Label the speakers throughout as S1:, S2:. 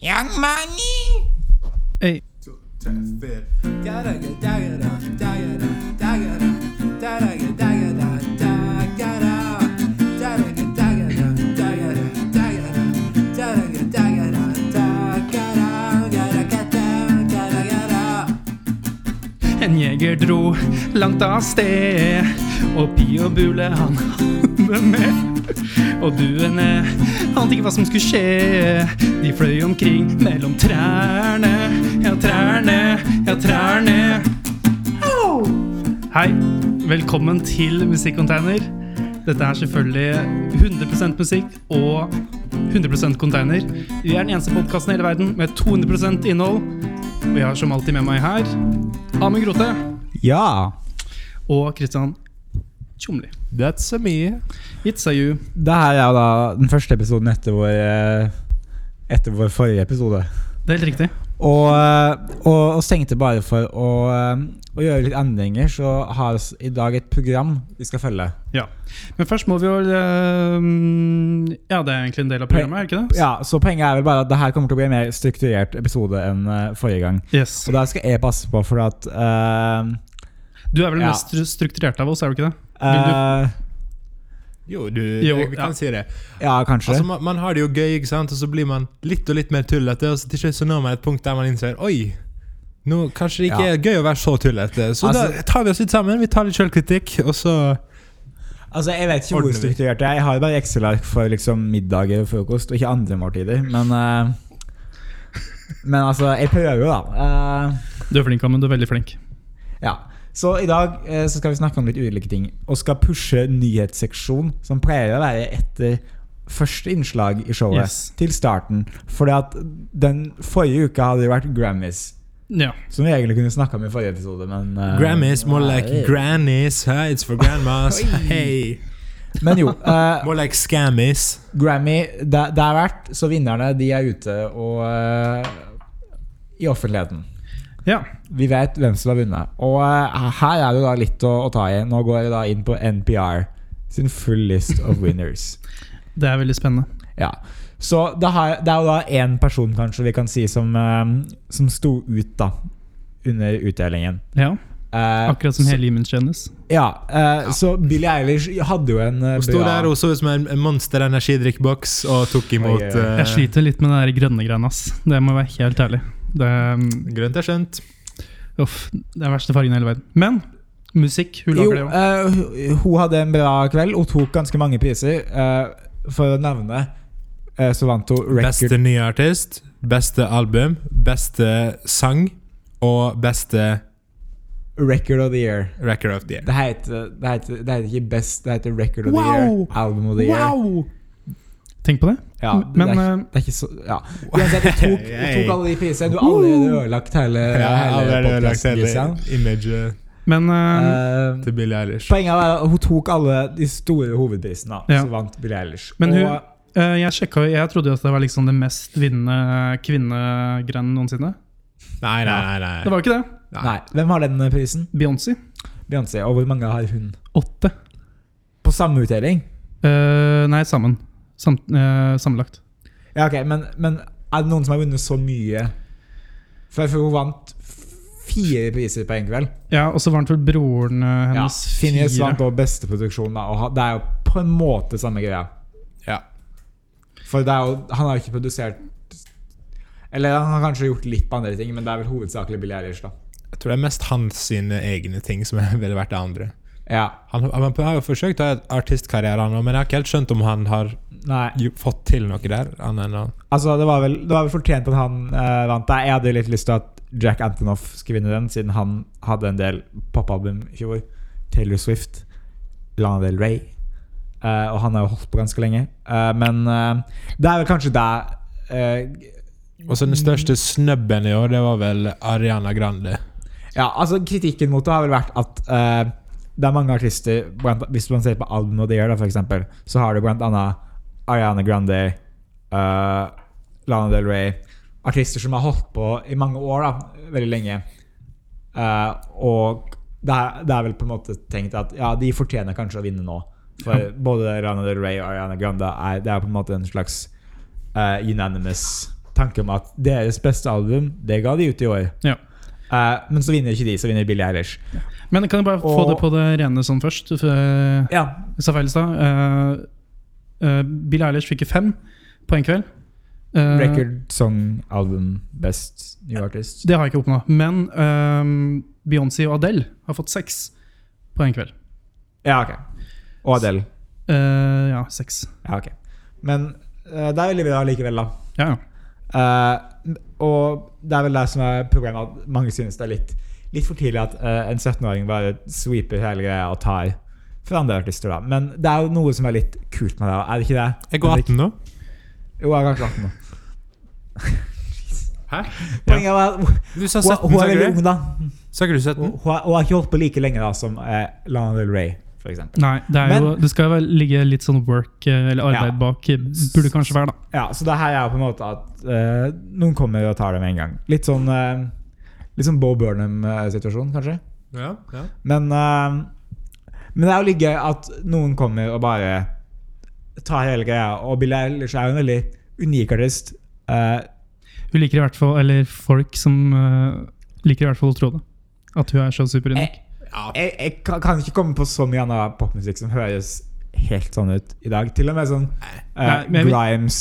S1: Young money.
S2: Ey, en jeger dro langt av sted, og pi og bule han hadde med. Og duene ante ikke hva som skulle skje, de fløy omkring mellom trærne, ja trærne, ja trærne. Au! Hei, velkommen til Musikkonteiner. Dette er selvfølgelig 100 musikk og 100 container. Vi er den eneste podkasten i hele verden med 200 innhold. Og jeg har som alltid med meg her Amund Grote
S3: Ja,
S2: og Kristian Tjomli.
S4: That's a me.
S2: It's a you.
S3: det her er jo da den første episoden etter vår, eh, etter vår forrige episode.
S2: Det er helt riktig.
S3: Og, eh, og, og stengte bare for å, eh, å gjøre litt endringer, så har vi i dag et program vi skal følge.
S2: Ja. Men først må vi jo eh, Ja, det er egentlig en del av programmet, er det ikke det?
S3: Ja, Så poenget er vel bare at det her kommer til å bli en mer strukturert episode enn eh, forrige gang.
S2: Yes.
S3: Og der skal jeg passe på, for at eh,
S2: Du er vel den
S3: Ja.
S2: mest stru- strukturerte av oss, er du ikke det?
S3: eh,
S4: Jo, du,
S2: Jo,
S4: vi kan
S2: ja.
S4: si det.
S3: Ja, kanskje.
S4: Altså, man, man har det jo gøy, ikke sant? og så blir man litt og litt mer tullete. Og så til slutt så når man et punkt der man innser Oi, nå kanskje det ikke
S3: Ja.
S4: er gøy å være så tullete. Så
S3: Altså-
S4: da tar vi oss litt sammen, vi tar litt sjølkritikk, og så
S3: Altså, Jeg vet ikke hvor
S4: Ordner vi.
S3: strukturert jeg er. Jeg har jo bare Excel-ark for liksom middager og frokost, og ikke andre måltider. Men, eh, men altså, jeg prøver jo, da. Eh,
S2: Du er flink, Amund. Du er veldig flink.
S3: ja. Så i dag eh, så skal vi snakke om litt ulike ting, og skal pushe nyhetsseksjon, som pleier å være etter første innslag i showet,
S2: Yes.
S3: til starten. Fordi at den forrige uka hadde jo vært Grammys,
S2: Ja.
S3: som vi egentlig kunne snakka om i forrige episode, men eh,
S4: Grammys, more like
S3: nei.
S4: grannies. Huh? It's for grandmas. Hey.
S3: Men jo. eh,
S4: More like scammies.
S3: Grammy, det, det er verdt, så vinnerne de er ute og eh, i offentligheten.
S2: ja.
S3: Vi vet hvem som har vunnet. Og eh, her er det da litt å, å ta i. Nå går jeg da inn på NPR sin full list of winners.
S2: Det er veldig spennende.
S3: Ja. Så det, har, det er jo da én person kanskje vi kan si som, eh, som sto ut da under utdelingen.
S2: Ja.
S3: Eh,
S2: Akkurat som hele Imen kjennes.
S3: ja, eh, Så Billie Eilish hadde jo en eh,
S4: Hun sto der og så ut som en en monster energidrikkboks og tok imot
S3: Oi, oi,
S2: Jeg
S4: eh,
S2: sliter litt med den der grønne greia, ass. Det må jeg være helt ærlig. Det,
S4: Grønt er skjønt.
S2: uff, det er den verste fargen i hele verden. Men musikk, hun
S3: Jo,
S2: lager det jo.
S3: eh, hun- hun hadde en bra kveld og tok ganske mange priser. eh, for å nevne eh, så vant hun Record
S4: Beste nye artist, beste album, beste sang og beste
S3: Record of the Year.
S4: record of the year.
S3: Det heter, det heter, det heter ikke Best, det heter Record of the
S2: Wow!
S3: Year. Album of the Year.
S2: Tenk på det.
S3: Ja, det,
S2: Men,
S3: er, ikke-
S2: eh,
S3: det er ikke så Ja. Uansett, hun tok, hun tok alle de prisene. Du har allerede ødelagt hele,
S4: Ja,
S3: hele
S4: allerede lagt
S3: podcasten,
S4: hele
S3: Christian.
S4: imaget
S2: Men eh,
S3: Eh,
S4: til Billie Eilish.
S3: Poenget er at hun tok alle de store hovedprisene, da,
S2: Ja.
S3: så vant Billie Eilish.
S2: Men hun-
S3: og,
S2: eh, jeg sjekka Jeg trodde jo at det var liksom det mest vinnende kvinnegrenet noensinne.
S4: Nei, nei, nei. nei.
S2: Det var jo ikke det.
S3: nei, hvem har den prisen?
S2: Beyoncé.
S3: Beyoncé. Og hvor mange har hun?
S2: Åtte.
S3: På samme utdeling?
S2: Eh, nei, sammen. Sam, eh, sammenlagt.
S3: Ja, ok, men, men er det noen som har vunnet så mye? For, for hun vant f- fire priser på en kveld.
S2: Ja, og så vant vel broren eh,
S3: Ja,
S2: hennes
S3: Finnes
S2: fire.
S3: vant også beste produksjon, da, og ha- det er jo på en måte samme greia.
S4: Ja.
S3: For det er jo, han har jo ikke produsert Eller han har kanskje gjort litt på andre ting, men det er vel hovedsakelig Billie Eilish, da.
S4: Jeg tror det er mest hans sine egne ting som ville vært det andre.
S3: Ja.
S4: Han, han har jo forsøkt å ha et artistkarriere, han også, men jeg har ikke helt skjønt om han har
S3: Nei.
S4: jo- fått til noe der. Annet enn å
S3: Altså, det var vel, det var vel fortjent at han eh, vant der. Jeg hadde jo litt lyst til at Jack Antonoff skulle vinne den, siden han hadde en del popalbum i fjor. Taylor Swift, Lana Del Rey. Eh, og han har jo holdt på ganske lenge. Eh, men eh, det er vel kanskje det eh,
S4: Og så den største snubben i år, det var vel Ariana Grande.
S3: Ja, altså Kritikken mot det har vel vært at eh, det er mange artister blant, Hvis man ser på album og det gjør, da, for eksempel, så har du blant annet Ariana Grande, eh, Lana Del Rey Artister som har holdt på i mange år, da, veldig lenge. Eh, og det er, det er vel på en måte tenkt at ja, de fortjener kanskje å vinne nå. For både Lana Del Rey og Ariana Grande er, det er på en måte en slags eh, unanimous tanke om at deres beste album, det ga de ut i år.
S2: Ja.
S3: Eh, men så vinner ikke de, så vinner Billie Eilish.
S2: Men kan jeg bare få
S3: Og-
S2: det på det rene sånn først? For jeg
S3: Ja,
S2: sa feil i stad. Eh, eh, Billie Eilish fikk fem på en kveld. Eh,
S3: Record, song, album, best new artist.
S2: Det har jeg ikke oppnå. Men eh, Beyoncé og Adele har fått seks på en kveld.
S3: Ja, ok. Og Adele.
S2: Eh, ja, seks.
S3: Ja, ok. Men eh, det er veldig bra likevel, da.
S2: Ja, ja.
S3: Eh, og det er vel det som er problemet, at mange synes det er litt, litt for tidlig at eh, en 17-åring bare sweeper hele greia og tar fra andre artister, da. Men det er jo noe som er litt kult med det, da. er det ikke det?
S4: Jeg går 18 nå.
S3: Jo, jeg er kanskje 18 nå.
S4: Hæ?
S3: Poenget er at hun,
S4: Du sa
S3: hun,
S4: 17,
S3: hun
S4: sa
S3: er
S4: ikke
S3: veldig ung,
S4: det?
S3: da.
S4: Sa ikke du
S3: Hun,
S4: 17?
S3: hun, har- hun har ikke holdt på like lenge da som eh, Lana Del Rey, for eksempel.
S2: Nei, det, er jo,
S3: Men-
S2: det skal vel ligge litt sånn work eh, eller arbeid
S3: Ja.
S2: bak. eh, Burde kanskje være, da.
S3: Ja, så det her er på en måte at eh, noen kommer og tar det med en gang. Litt sånn, eh, litt sånn Bo Burnham-situasjon, kanskje.
S4: Ja, ja.
S3: Men, eh, men det er jo litt gøy at noen kommer og bare tar hele greia. Og Billie Eilish er jo en veldig unik artist. Eh,
S2: Hun liker i hvert fall, eller folk som eh, liker i hvert fall å tro det. At hun er så
S3: Eh.
S2: superunik.
S4: ja.
S3: jeg, jeg kan, kan ikke komme på så mye annen popmusikk som høres helt sånn ut i dag. Til og med sånn
S2: Nei,
S3: eh,
S2: men jeg vil-
S3: Grimes.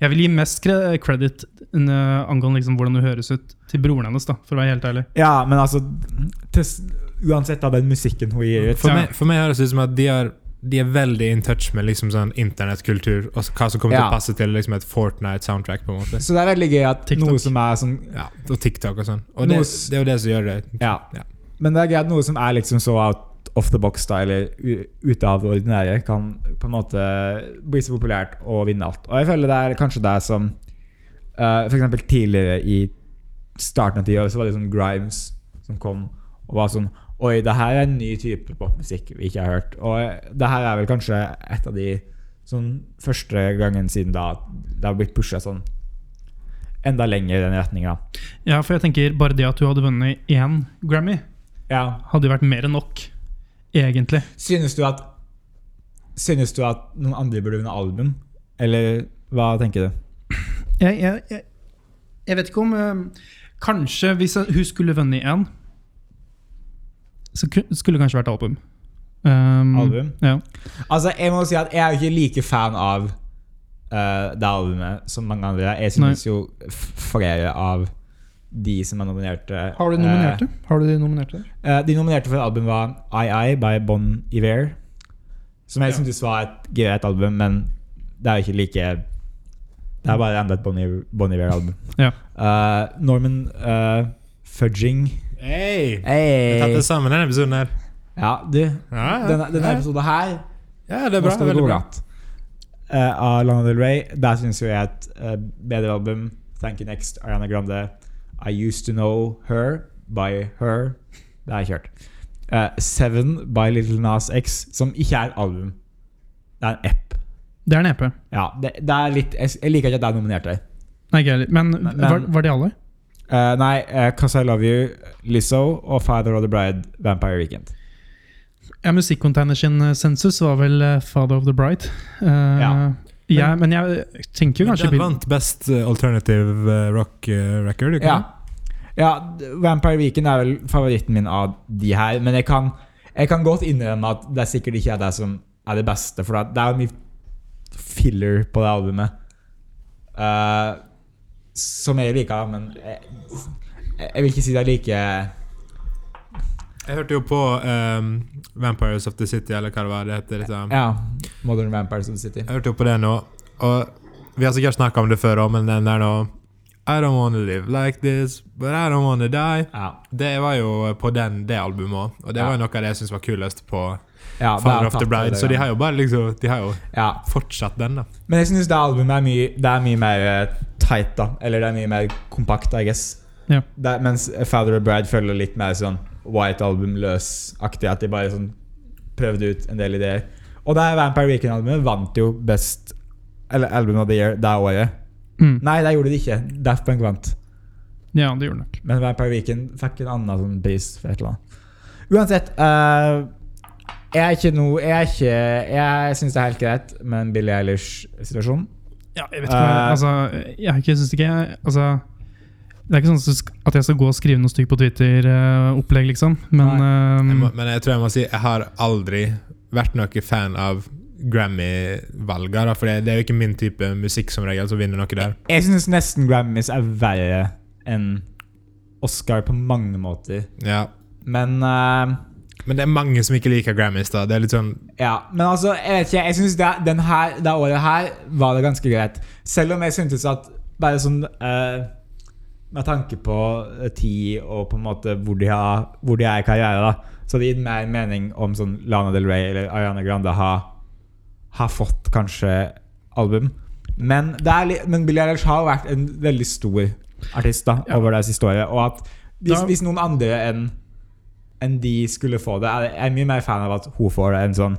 S2: Jeg vil gi mest kre- credit eh, angående liksom hvordan hun høres ut, til broren hennes, da, for å være helt ærlig.
S3: Ja, men altså til, s- Uansett av den musikken hun gir ut.
S4: For,
S2: Ja.
S4: meg, for meg høres det ut som at de er, de er veldig in touch med liksom sånn internettkultur og hva som kommer til
S3: Ja.
S4: å passe til liksom et Fortnite-soundtrack. på en måte
S3: Så det er veldig gøy at
S2: TikTok.
S3: noe som er sånn
S4: Ja, Og TikTok og sånn. Og det,
S3: Noe s-
S4: det er jo det som gjør det.
S3: Ja. Men det er greit noe som er liksom så out of the box, da, eller u- ute av det ordinære, kan på en måte bli så populært og vinne alt. Og jeg føler det er kanskje det som eh, For eksempel tidligere i starten av tiåret så var det sånn Grimes som kom og var sånn Oi, det her er en ny type popmusikk vi ikke har hørt. Og det her er vel kanskje et av de sånn første gangen siden da at det har blitt pusha sånn enda lenger i den retninga.
S2: Ja, for jeg tenker bare det at hun hadde vunnet én Grammy,
S3: Ja.
S2: hadde jo vært mer enn nok. Egentlig.
S3: Synes du at Synes du at noen andre burde vinne album? Eller hva tenker du?
S2: Jeg, jeg, jeg, jeg vet ikke om eh, Kanskje hvis jeg- hun skulle vunnet én, så ku- skulle det kanskje vært album. Um,
S3: Album?
S2: Ja.
S3: Altså, jeg må si at jeg er jo ikke like fan av eh, det albumet som mange andre. er. Jeg synes jo f- flere av de som er nominerte
S2: Har du nominert det? Har du de nominerte der?
S3: Eh, de nominerte for et album var I I by Bon Iver. Som jeg syntes var et greit album, men det er jo ikke like Det er bare enda et Bon Iver- Bon Iver-album.
S2: Ja.
S3: Eh, Norman eh, Fudging Hey.
S4: Hey. Jeg har tatt det sammen denne episoden her.
S3: Ja, du.
S4: Ja, ja.
S3: Denne, denne
S4: ja.
S3: episoden her
S4: ja, det
S3: Nå
S4: er bra.
S3: skal det
S4: Veldig
S3: gå
S4: bra.
S3: glatt. Eh, av Lana Del Rey. Der syns jo jeg et eh, bedre album. Thank You Next, Ariana Grande. I Used To Know Her by Her. Det er kjørt. Eh, Seven by Little Nas X, som ikke er et album. Det er en app.
S2: Det er en E EP.
S3: Ja, det, det er litt, jeg, jeg liker ikke at det er nominert der.
S2: Nei, ikke jeg heller. Men,
S3: Men-
S2: var, var de alle?
S3: Eh, nei, eh, 'Cause I Love You, Lizzo og Father of the Bride, Vampire Weekend.
S2: Ja, Musikkontainer sin eh, sensus var vel eh, Father of the Bride. Eh,
S3: Ja.
S2: ja, men jeg tenker jo
S4: Men
S2: kanskje
S4: Den vant Best eh, Alternative eh, Rock eh, Record. ikke
S3: Ja.
S4: sant?
S3: ja, d- Vampire Weekend er vel favoritten min av de her. Men jeg kan, jeg kan godt innrømme at det er sikkert ikke er det som er det beste. For det er jo mye filler på det albumet. Eh, som jeg liker, men jeg, jeg vil ikke si det er like
S4: Jeg hørte jo på ehm, Vampires of the City, eller hva det var det heter. Dette.
S3: Ja, Modern Vampires of the City.
S4: Jeg hørte jo på det nå, og vi har sikkert snakka om det før òg, men den der nå I don't wanna live like this, but I don't wanna die.
S3: Ja,
S4: Det var jo på den, det albumet òg, og det
S3: Ja.
S4: var jo noe av det jeg syns var kulest på
S3: ja, det er
S4: Father of
S3: tatt
S4: the
S3: av
S4: Bride,
S3: det,
S4: så de
S3: ja.
S4: har jo bare liksom De har jo
S3: ja.
S4: fortsatt den, da.
S3: Men jeg syns det albumet er mye, det er mye mer eh, tight, da. Eller det er mye mer kompakt, I guess.
S2: Ja.
S3: Der, mens Father of Bride følger litt mer sånn White Album-løs-aktig. At de bare sånn prøvde ut en del ideer. Og det her Vampire Weekend-albumet vant jo Best Eller Album of the Year det året.
S2: Mm.
S3: Nei, det gjorde de ikke. Daft Punk vant.
S2: Ja, det gjorde den nok.
S3: Men Vampire Weekend fikk en annen sånn pris for et eller annet. Uansett eh, Jeg er ikke noe Jeg, er ikke- jeg syns det er helt greit med en Billie Eilish-situasjon.
S2: Ja, jeg vet ikke hva,
S3: Eh.
S2: altså, jeg, jeg synes ikke altså, Det er ikke sånn at jeg skal gå og skrive noe stygt på Twitter-opplegg, liksom. Men
S4: Jeg må,
S2: ehm,
S4: men jeg tror jeg må si jeg har aldri vært noe fan av Grammy-valga. da, For det, det er jo ikke min type musikk som regel som vinner noe der.
S3: Jeg syns nesten Grammys er verre enn Oscar på mange måter.
S4: Ja.
S3: Men eh,
S4: Men det er mange som ikke liker Grammys. da Det er litt sånn
S3: Ja, men altså, jeg vet ikke, jeg synes det, den her, det året her var det ganske greit. Selv om jeg syntes at bare sånn eh, Med tanke på eh, tid og på en måte hvor de, har, hvor de er i karriere, da, så det gir mer mening om sånn Lana Del Rey eller Ariana Grande har, har fått kanskje album. Men, det er, li- men Billie Eilish har jo vært en veldig stor artist da,
S2: Ja.
S3: over det siste året. Og at hvis,
S2: Da-
S3: hvis noen andre enn enn de skulle få det. Jeg er mye mer fan av at hun får det enn sånn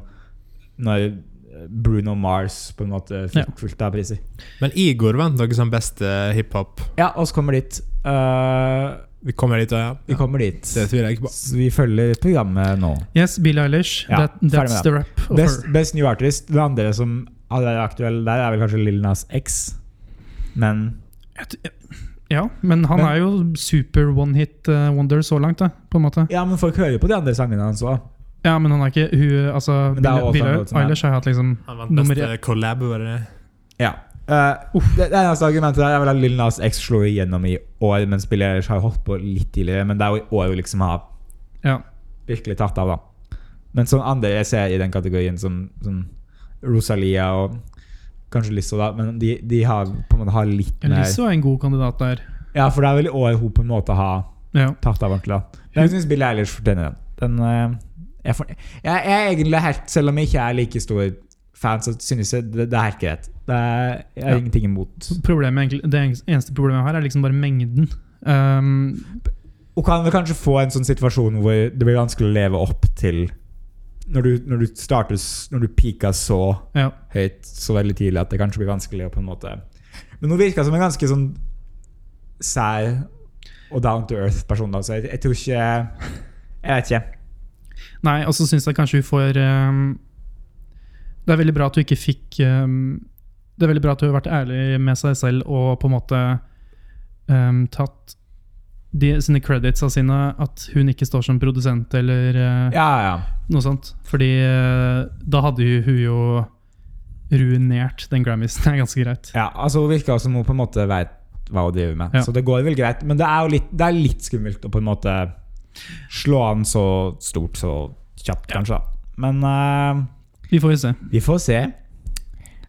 S3: når eh, Bruno Mars på en måte
S2: Ja.
S3: fikk fullt av priser.
S4: Men Igor vant noe som beste hiphop.
S3: Ja, oss kommer dit. Eh,
S4: Vi kommer dit, da,
S3: vi
S4: ja.
S3: kommer dit.
S4: Det tviler jeg ikke på.
S3: Så vi følger programmet nå.
S2: yes, Billie Eilish.
S3: Ja,
S2: that, that's
S3: ferdig med
S2: the rap. of
S3: Best,
S2: her.
S3: best New Artist. Den andre som allerede er aktuell der, er vel kanskje Lil Nas X. Men
S2: Jeg t- Ja, men han
S3: Men-
S2: er jo super one-hit eh, wonder så langt, da, på en måte.
S3: Ja, men folk hører jo på de andre sangene hans òg.
S2: Ja, men han er ikke hun, altså,
S3: Men det er
S2: Billie,
S3: også
S2: Billie
S3: han som er-
S2: Eilish har hatt liksom
S4: Han vant
S2: nummer
S4: beste collab. var det det?
S3: Ja. Eh, det, det eneste argumentet der er vel at Lil Nas X slo igjennom i år, mens Billie Eilish har holdt på litt tidligere. Men det er jo i år hun liksom har
S2: Ja.
S3: virkelig tatt av, da. Men sånn andre jeg ser i den kategorien, som, som Rosalia og kanskje Lizzo, da, men de, de har på en måte har litt mer
S2: Lizzo er en god kandidat der.
S3: Ja, for det er vel i år hun på en måte har
S2: Ja.
S3: tatt av ordentlig, da. Men jeg syns Billie Eilish fortjener den. den eh, jeg, for, jeg, jeg er egentlig helt Selv om jeg ikke er like stor fan, så synes jeg det, det er helt greit. Det er, jeg har
S2: Ja.
S3: ingenting imot.
S2: Problemet, egentlig- det eneste problemet her er liksom bare mengden. Um,
S3: Hun kan vel kanskje få en sånn situasjon hvor det blir vanskelig å leve opp til Når du, når du starter s- Når du peaker så
S2: ja.
S3: høyt så veldig tidlig at det kanskje blir vanskelig å på en måte Men hun virka som en ganske sånn sær og down to earth-person, da, så jeg, jeg tror ikke Jeg vet ikke.
S2: Nei, og så syns jeg kanskje hun får um, Det er veldig bra at hun ikke fikk um, Det er veldig bra at hun har vært ærlig med seg selv og på en måte um, tatt de, sine credits av sine At hun ikke står som produsent eller uh,
S3: Ja, ja.
S2: noe sånt. Fordi uh, da hadde hun, hun jo ruinert den Grammysen. Det er ganske greit.
S3: ja altså Hun virka som hun på en måte veit hva hun driver med,
S2: Ja.
S3: så det går vel greit. Men det er jo litt, det er litt skummelt å på en måte slå an så stort så kjapt, kanskje. da. Men eh,
S2: Vi får jo se.
S3: Vi får se.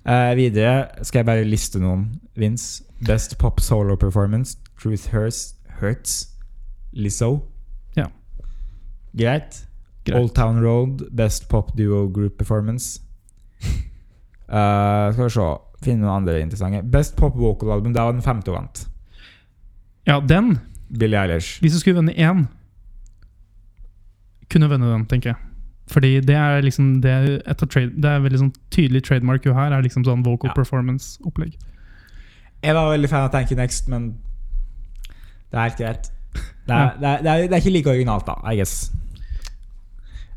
S3: Eh, videre skal jeg bare liste noen. Vince. Best pop solo performance. Truth Hurts. Hurts. Lizzo.
S2: Ja.
S3: Greit.
S2: Greit.
S3: Old Town Road. Best pop duo group performance. Eh, skal vi se. Finne noen andre interessante. Best pop vocal album. Det var den femte hun vant.
S2: Ja, den
S3: Billie Eilish.
S2: Hvis du skulle vende én, kunne vende den, tenker jeg. Fordi det er liksom det er, et av trade, det er veldig sånn tydelig trademark jo her, er liksom sånn vocal
S3: Ja.
S2: performance-opplegg.
S3: Jeg var veldig fan av Thank You Next, men det er helt greit. Det er, det er, det er, det er ikke like originalt, da, I guess.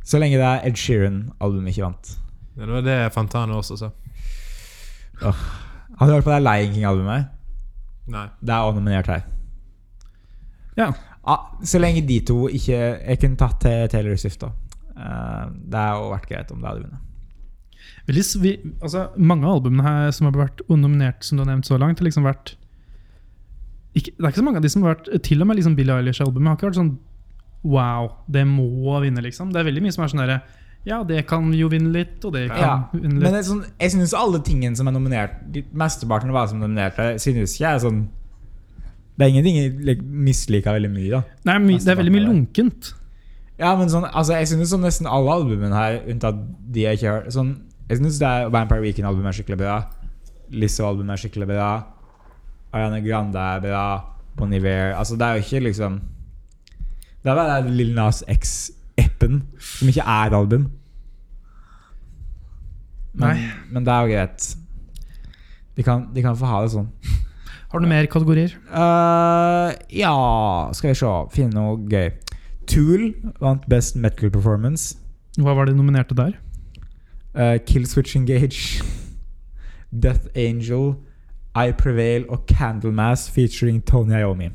S3: Så lenge det er Ed Sheeran-albumet ikke vant.
S4: Ja, Det var det Fantano også sa.
S3: Har du hørt på det Lion King-albumet?
S4: Nei.
S3: Det er også nominert her.
S2: Ja.
S3: Ah, så lenge de to ikke Jeg kunne tatt til Taylor Swift, da. Eh, det hadde vært greit om det hadde vunnet.
S2: Veldig, s- vi, altså, mange av albumene her som har vært nominert, som du har nevnt så langt, har liksom vært ikke, Det er ikke så mange av de som har vært Til og med liksom Billie Eilish-albumet har ikke vært sånn Wow, det må vinne, liksom. Det er veldig mye som er sånn derre Ja, det kan jo vinne litt, og det kan
S3: Ja.
S2: vinne
S3: Men
S2: litt.
S3: det er sånn, jeg synes alle tingene som er nominert, de- mesteparten av hva som er nominert, jeg synes ikke er sånn Det er ingenting jeg like, misliker veldig mye, da.
S2: Nei, my, det er veldig mye lunkent.
S3: Ja, men sånn, altså jeg synes som nesten alle albumene her, unntatt de jeg ikke har hørt sånn, Jeg synes det er Vampire Weekend-albumet er skikkelig bra. Lizzo-albumet er skikkelig bra. Ariana Grande er bra. Bon Iver Altså, det er jo ikke liksom Det er bare den Lil Nas X-appen, som ikke er et album. Men,
S2: Nei.
S3: men det er jo greit. De kan, de kan få ha det sånn.
S2: Har du noen mer kategorier?
S3: Eh, ja Skal vi se. Finne noe gøy. Tool vant Best Metal Performance.
S2: Hva var det nominerte der?
S3: Eh, Killswitch Engage. Death Angel. I Prevail og Candlemass featuring Tony Iommi.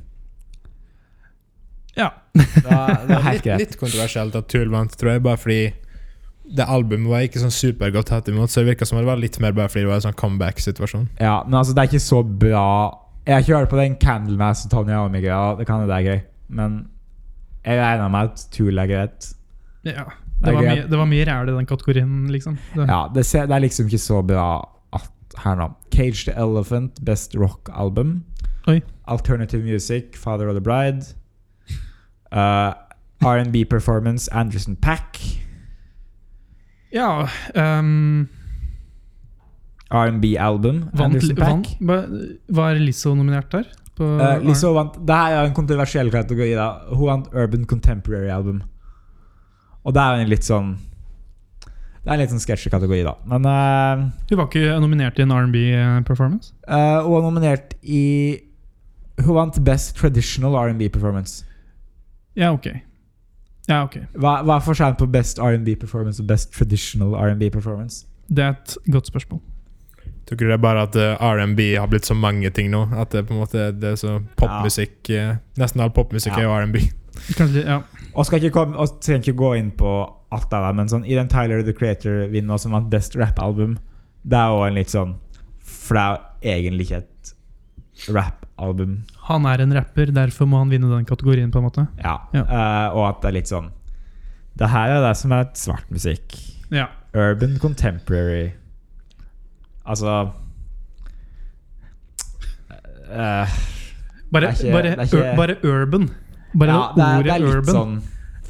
S2: Ja.
S1: Det var, det var
S3: Helt
S1: litt,
S3: greit.
S1: litt kontroversielt.
S4: Kontroversielt at Tool vant, tror jeg, bare fordi det albumet var ikke sånn supergodt tatt imot, så det virka som det var litt mer bare fordi det var en sånn comeback-situasjon.
S3: Ja, men altså, det er ikke så bra Jeg har ikke hørt på den Candlemass og Tony Iommi-greia. Det kan hende det er gøy, men jeg regner med at Tool er greit.
S2: ja.
S3: Det er
S2: Det, var
S3: greit.
S2: mye, det var mye ræl i den kategorien, liksom. Det,
S3: Ja, det, ser, det er liksom ikke så bra at her nå. Cage the Elephant, Best Rock Album.
S2: Oi.
S3: Alternative Music, Father of the Bride. Uh, R&B Performance, Anderson Pack.
S2: ja ehm,
S3: R&B Album,
S2: vant,
S3: Anderson
S2: vant,
S3: Pack.
S2: ba- Var Lizzo nominert der? På
S3: Uh, Lizzo vant Det her er jo en kontroversiell kategori. da Hun vant Urban Contemporary Album. Og det er jo en litt sånn Det er en litt sånn sketchy kategori, da. Men uh,
S2: Hun var ikke nominert i en eh, R&B-performance?
S3: uh, hun var nominert i Hun vant Best Traditional R&B Performance.
S2: Ja, ok. Ja, ok.
S3: Hva, hva er forskjellen på best R&B performance og best traditional R&B performance?
S2: Det er et godt spørsmål.
S4: Tror ikke det er bare at eh, R&B har blitt så mange ting nå? At det på en måte det er så popmusikk eh, Nesten all popmusikk er jo R&B.
S2: Kanskje, ja.
S3: Og skal ikke, komme, og skal ikke gå inn på alt det der, men sånn, i den Tyler the Creator-vinneren som vant best rap-album, det er jo en litt sånn For det er jo egentlig ikke et rap-album.
S2: Han er en rapper, derfor må han vinne den kategorien, på en måte.
S3: Ja.
S2: Ja.
S3: Eh, og at det er litt sånn Det her er det som er et svart musikk.
S2: Ja.
S3: Urban contemporary. Altså eh,
S2: Bare,
S3: Det er ikke-
S2: bare,
S3: det er ikke-
S2: ur, bare urban. Bare
S3: ja, det er,
S2: ordet
S3: det er litt
S2: urban
S3: sånn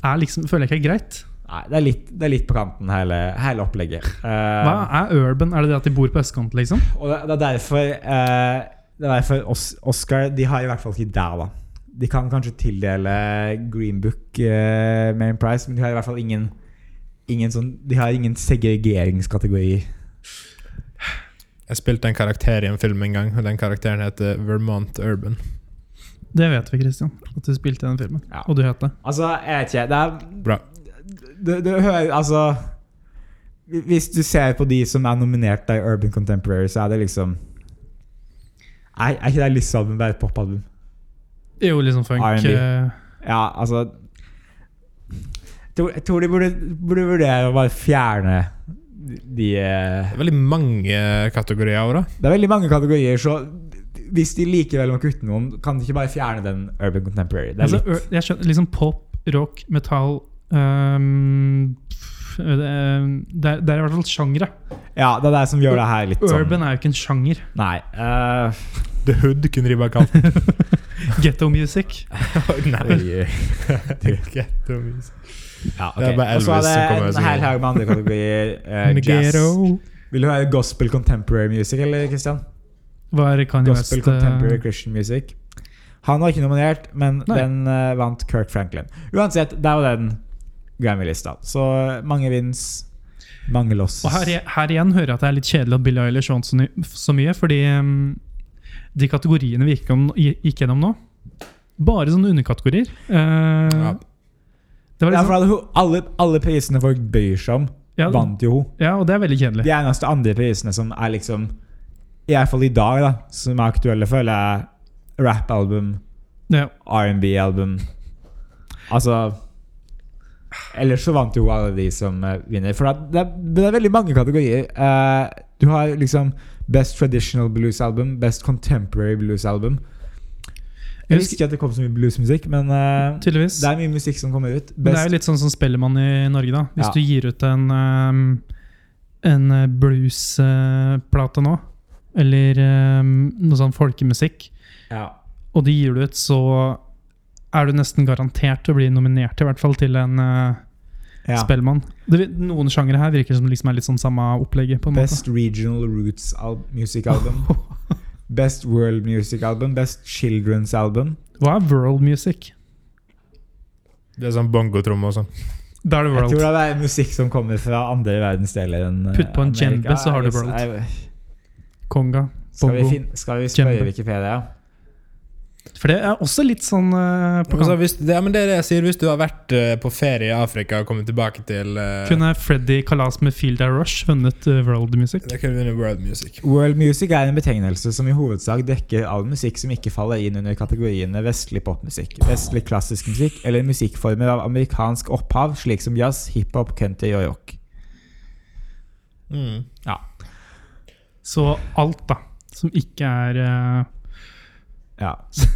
S2: er liksom, føler jeg ikke er greit.
S3: Nei, det er litt, det er litt på kanten, hele, hele opplegget. Eh,
S2: Hva er urban? Er det det at de bor på østkant, liksom?
S3: og det, det er derfor, eh, det er derfor Os Oscar De har i hvert fall ikke der, da. De kan kanskje tildele Green Book eh, Main Prize, men de har i hvert fall ingen, ingen sånn De har ingen segregeringskategori.
S4: Jeg spilte en karakter i en film en gang, og den karakteren heter Vermont Urban.
S2: Det vet vi, Christian. At du spilte i den filmen.
S3: Ja.
S2: Og du het det.
S3: Altså, jeg vet ikke Det er
S4: Bra.
S3: du, du hører, altså Hvis du ser på de som er nominert i Urban Contemporary, så er det liksom Er, er ikke det Lissabon bare et popalbum?
S2: Det er jo liksom funk.
S3: R&B.
S2: eh,
S3: Ja, altså Jeg tror- Jeg tror de burde, burde vurdere å bare fjerne de eh,
S4: Det er veldig mange eh, kategorier òg, da.
S3: Det er veldig mange kategorier, så hvis de likevel må kutte noen, kan de ikke bare fjerne den Urban Contemporary? Det er
S2: altså,
S3: litt,
S2: ur, jeg skjønner, liksom pop, rock, metall ehm, pff, eh, det, er, det er i hvert fall sjangere.
S3: ja, det er det som gjør det her litt sånn
S2: Urban er jo ikke en sjanger.
S3: Nei. eh,
S4: The Hood kunne de bare kalt den.
S2: Ghetto music.
S4: Nei,
S3: oi,
S4: Get the music.
S3: ja, ok.
S4: Det er bare
S3: Og så
S4: Elvis som
S3: er
S4: kommer og
S3: det en
S4: synger.
S3: hel haug med andre kategorier. eh, jazz.
S2: Negero.
S3: Vil du høre gospel contemporary music, eller, Christian?
S2: Var Kanye West
S3: Gospel
S2: eh,
S3: Contemporary Christian Music. Han var ikke nominert, men
S2: Nei.
S3: den eh, vant Kirk Franklin. Uansett, der var den Grammy-lista. Så eh, mange vins, mange loss.
S2: Og her, her igjen hører jeg at det er litt kjedelig at Billie Eilish vant så, ny- så mye, fordi ehm, de kategoriene vi gikk, om, gikk gjennom nå, bare sånne underkategorier. Eh,
S4: Ja.
S2: Det var
S3: Det er
S2: liksom,
S3: for at hun- alle, alle prisene folk bryr seg om,
S2: ja,
S3: vant jo hun.
S2: ja, og det er veldig kjedelig.
S3: De eneste andre prisene som er liksom I hvert fall i dag, da, som er aktuelle, føler jeg rap-album,
S2: Ja.
S3: R&B-album Altså Ellers så vant jo alle de som eh, vinner. For at det, er, det er veldig mange kategorier. Eh, du har liksom Best Traditional Blues Album, Best Contemporary Blues Album. Jeg
S2: Jeg
S3: visste ikke at det kom så mye bluesmusikk, men eh,
S2: Tydeligvis.
S3: det er mye musikk som kommer ut.
S2: Men det er
S3: Best,
S2: jo litt sånn som Spellemann i Norge, da. Hvis
S3: Ja.
S2: du gir ut en, ehm, en eh, bluesplate nå, eller ehm, noe sånn folkemusikk,
S3: ja.
S2: og de gir det ut, så er du nesten garantert å bli nominert, i hvert fall, til en uh,
S3: Ja.
S2: Spellemann. Det, vi- noen sjangere her virker som liksom er litt sånn samme opplegget, på en
S3: Best Regional Roots al Music Album. Best World Music Album. Best Children's Album.
S2: måte. Hva er world music?
S4: Det er sånn bongotromme og sånn.
S2: Da er det
S3: Jeg
S2: world.
S3: tror det er musikk som kommer fra andre verdensdeler enn eh,
S2: Putt på en djembe,
S3: Amerika.
S2: så har du
S3: Jeg-
S2: world.
S3: jeg-
S2: Konga.
S3: Skal vi,
S2: Bongo.
S3: finne, skal vi spørre
S2: Djembe.
S3: Wikipedia?
S2: For det er også litt sånn eh, på
S4: Altså,
S2: kanten.
S4: hvis, det, ja, men det er det jeg sier. Hvis du har vært eh, på ferie i Afrika og kommet tilbake til eh,
S2: Kunne Freddy Kalas med Feel Day Rush vunnet eh, World Music?
S4: Da kunne du vunnet World Music.
S3: World music er en betegnelse som i hovedsak dekker all musikk som ikke faller inn under kategoriene vestlig popmusikk, vestlig klassisk musikk eller musikkformer av amerikansk opphav, slik som jazz, hiphop, country og rock.
S4: Mm.
S3: Ja.
S2: Så alt, da, som ikke er eh,
S3: ja.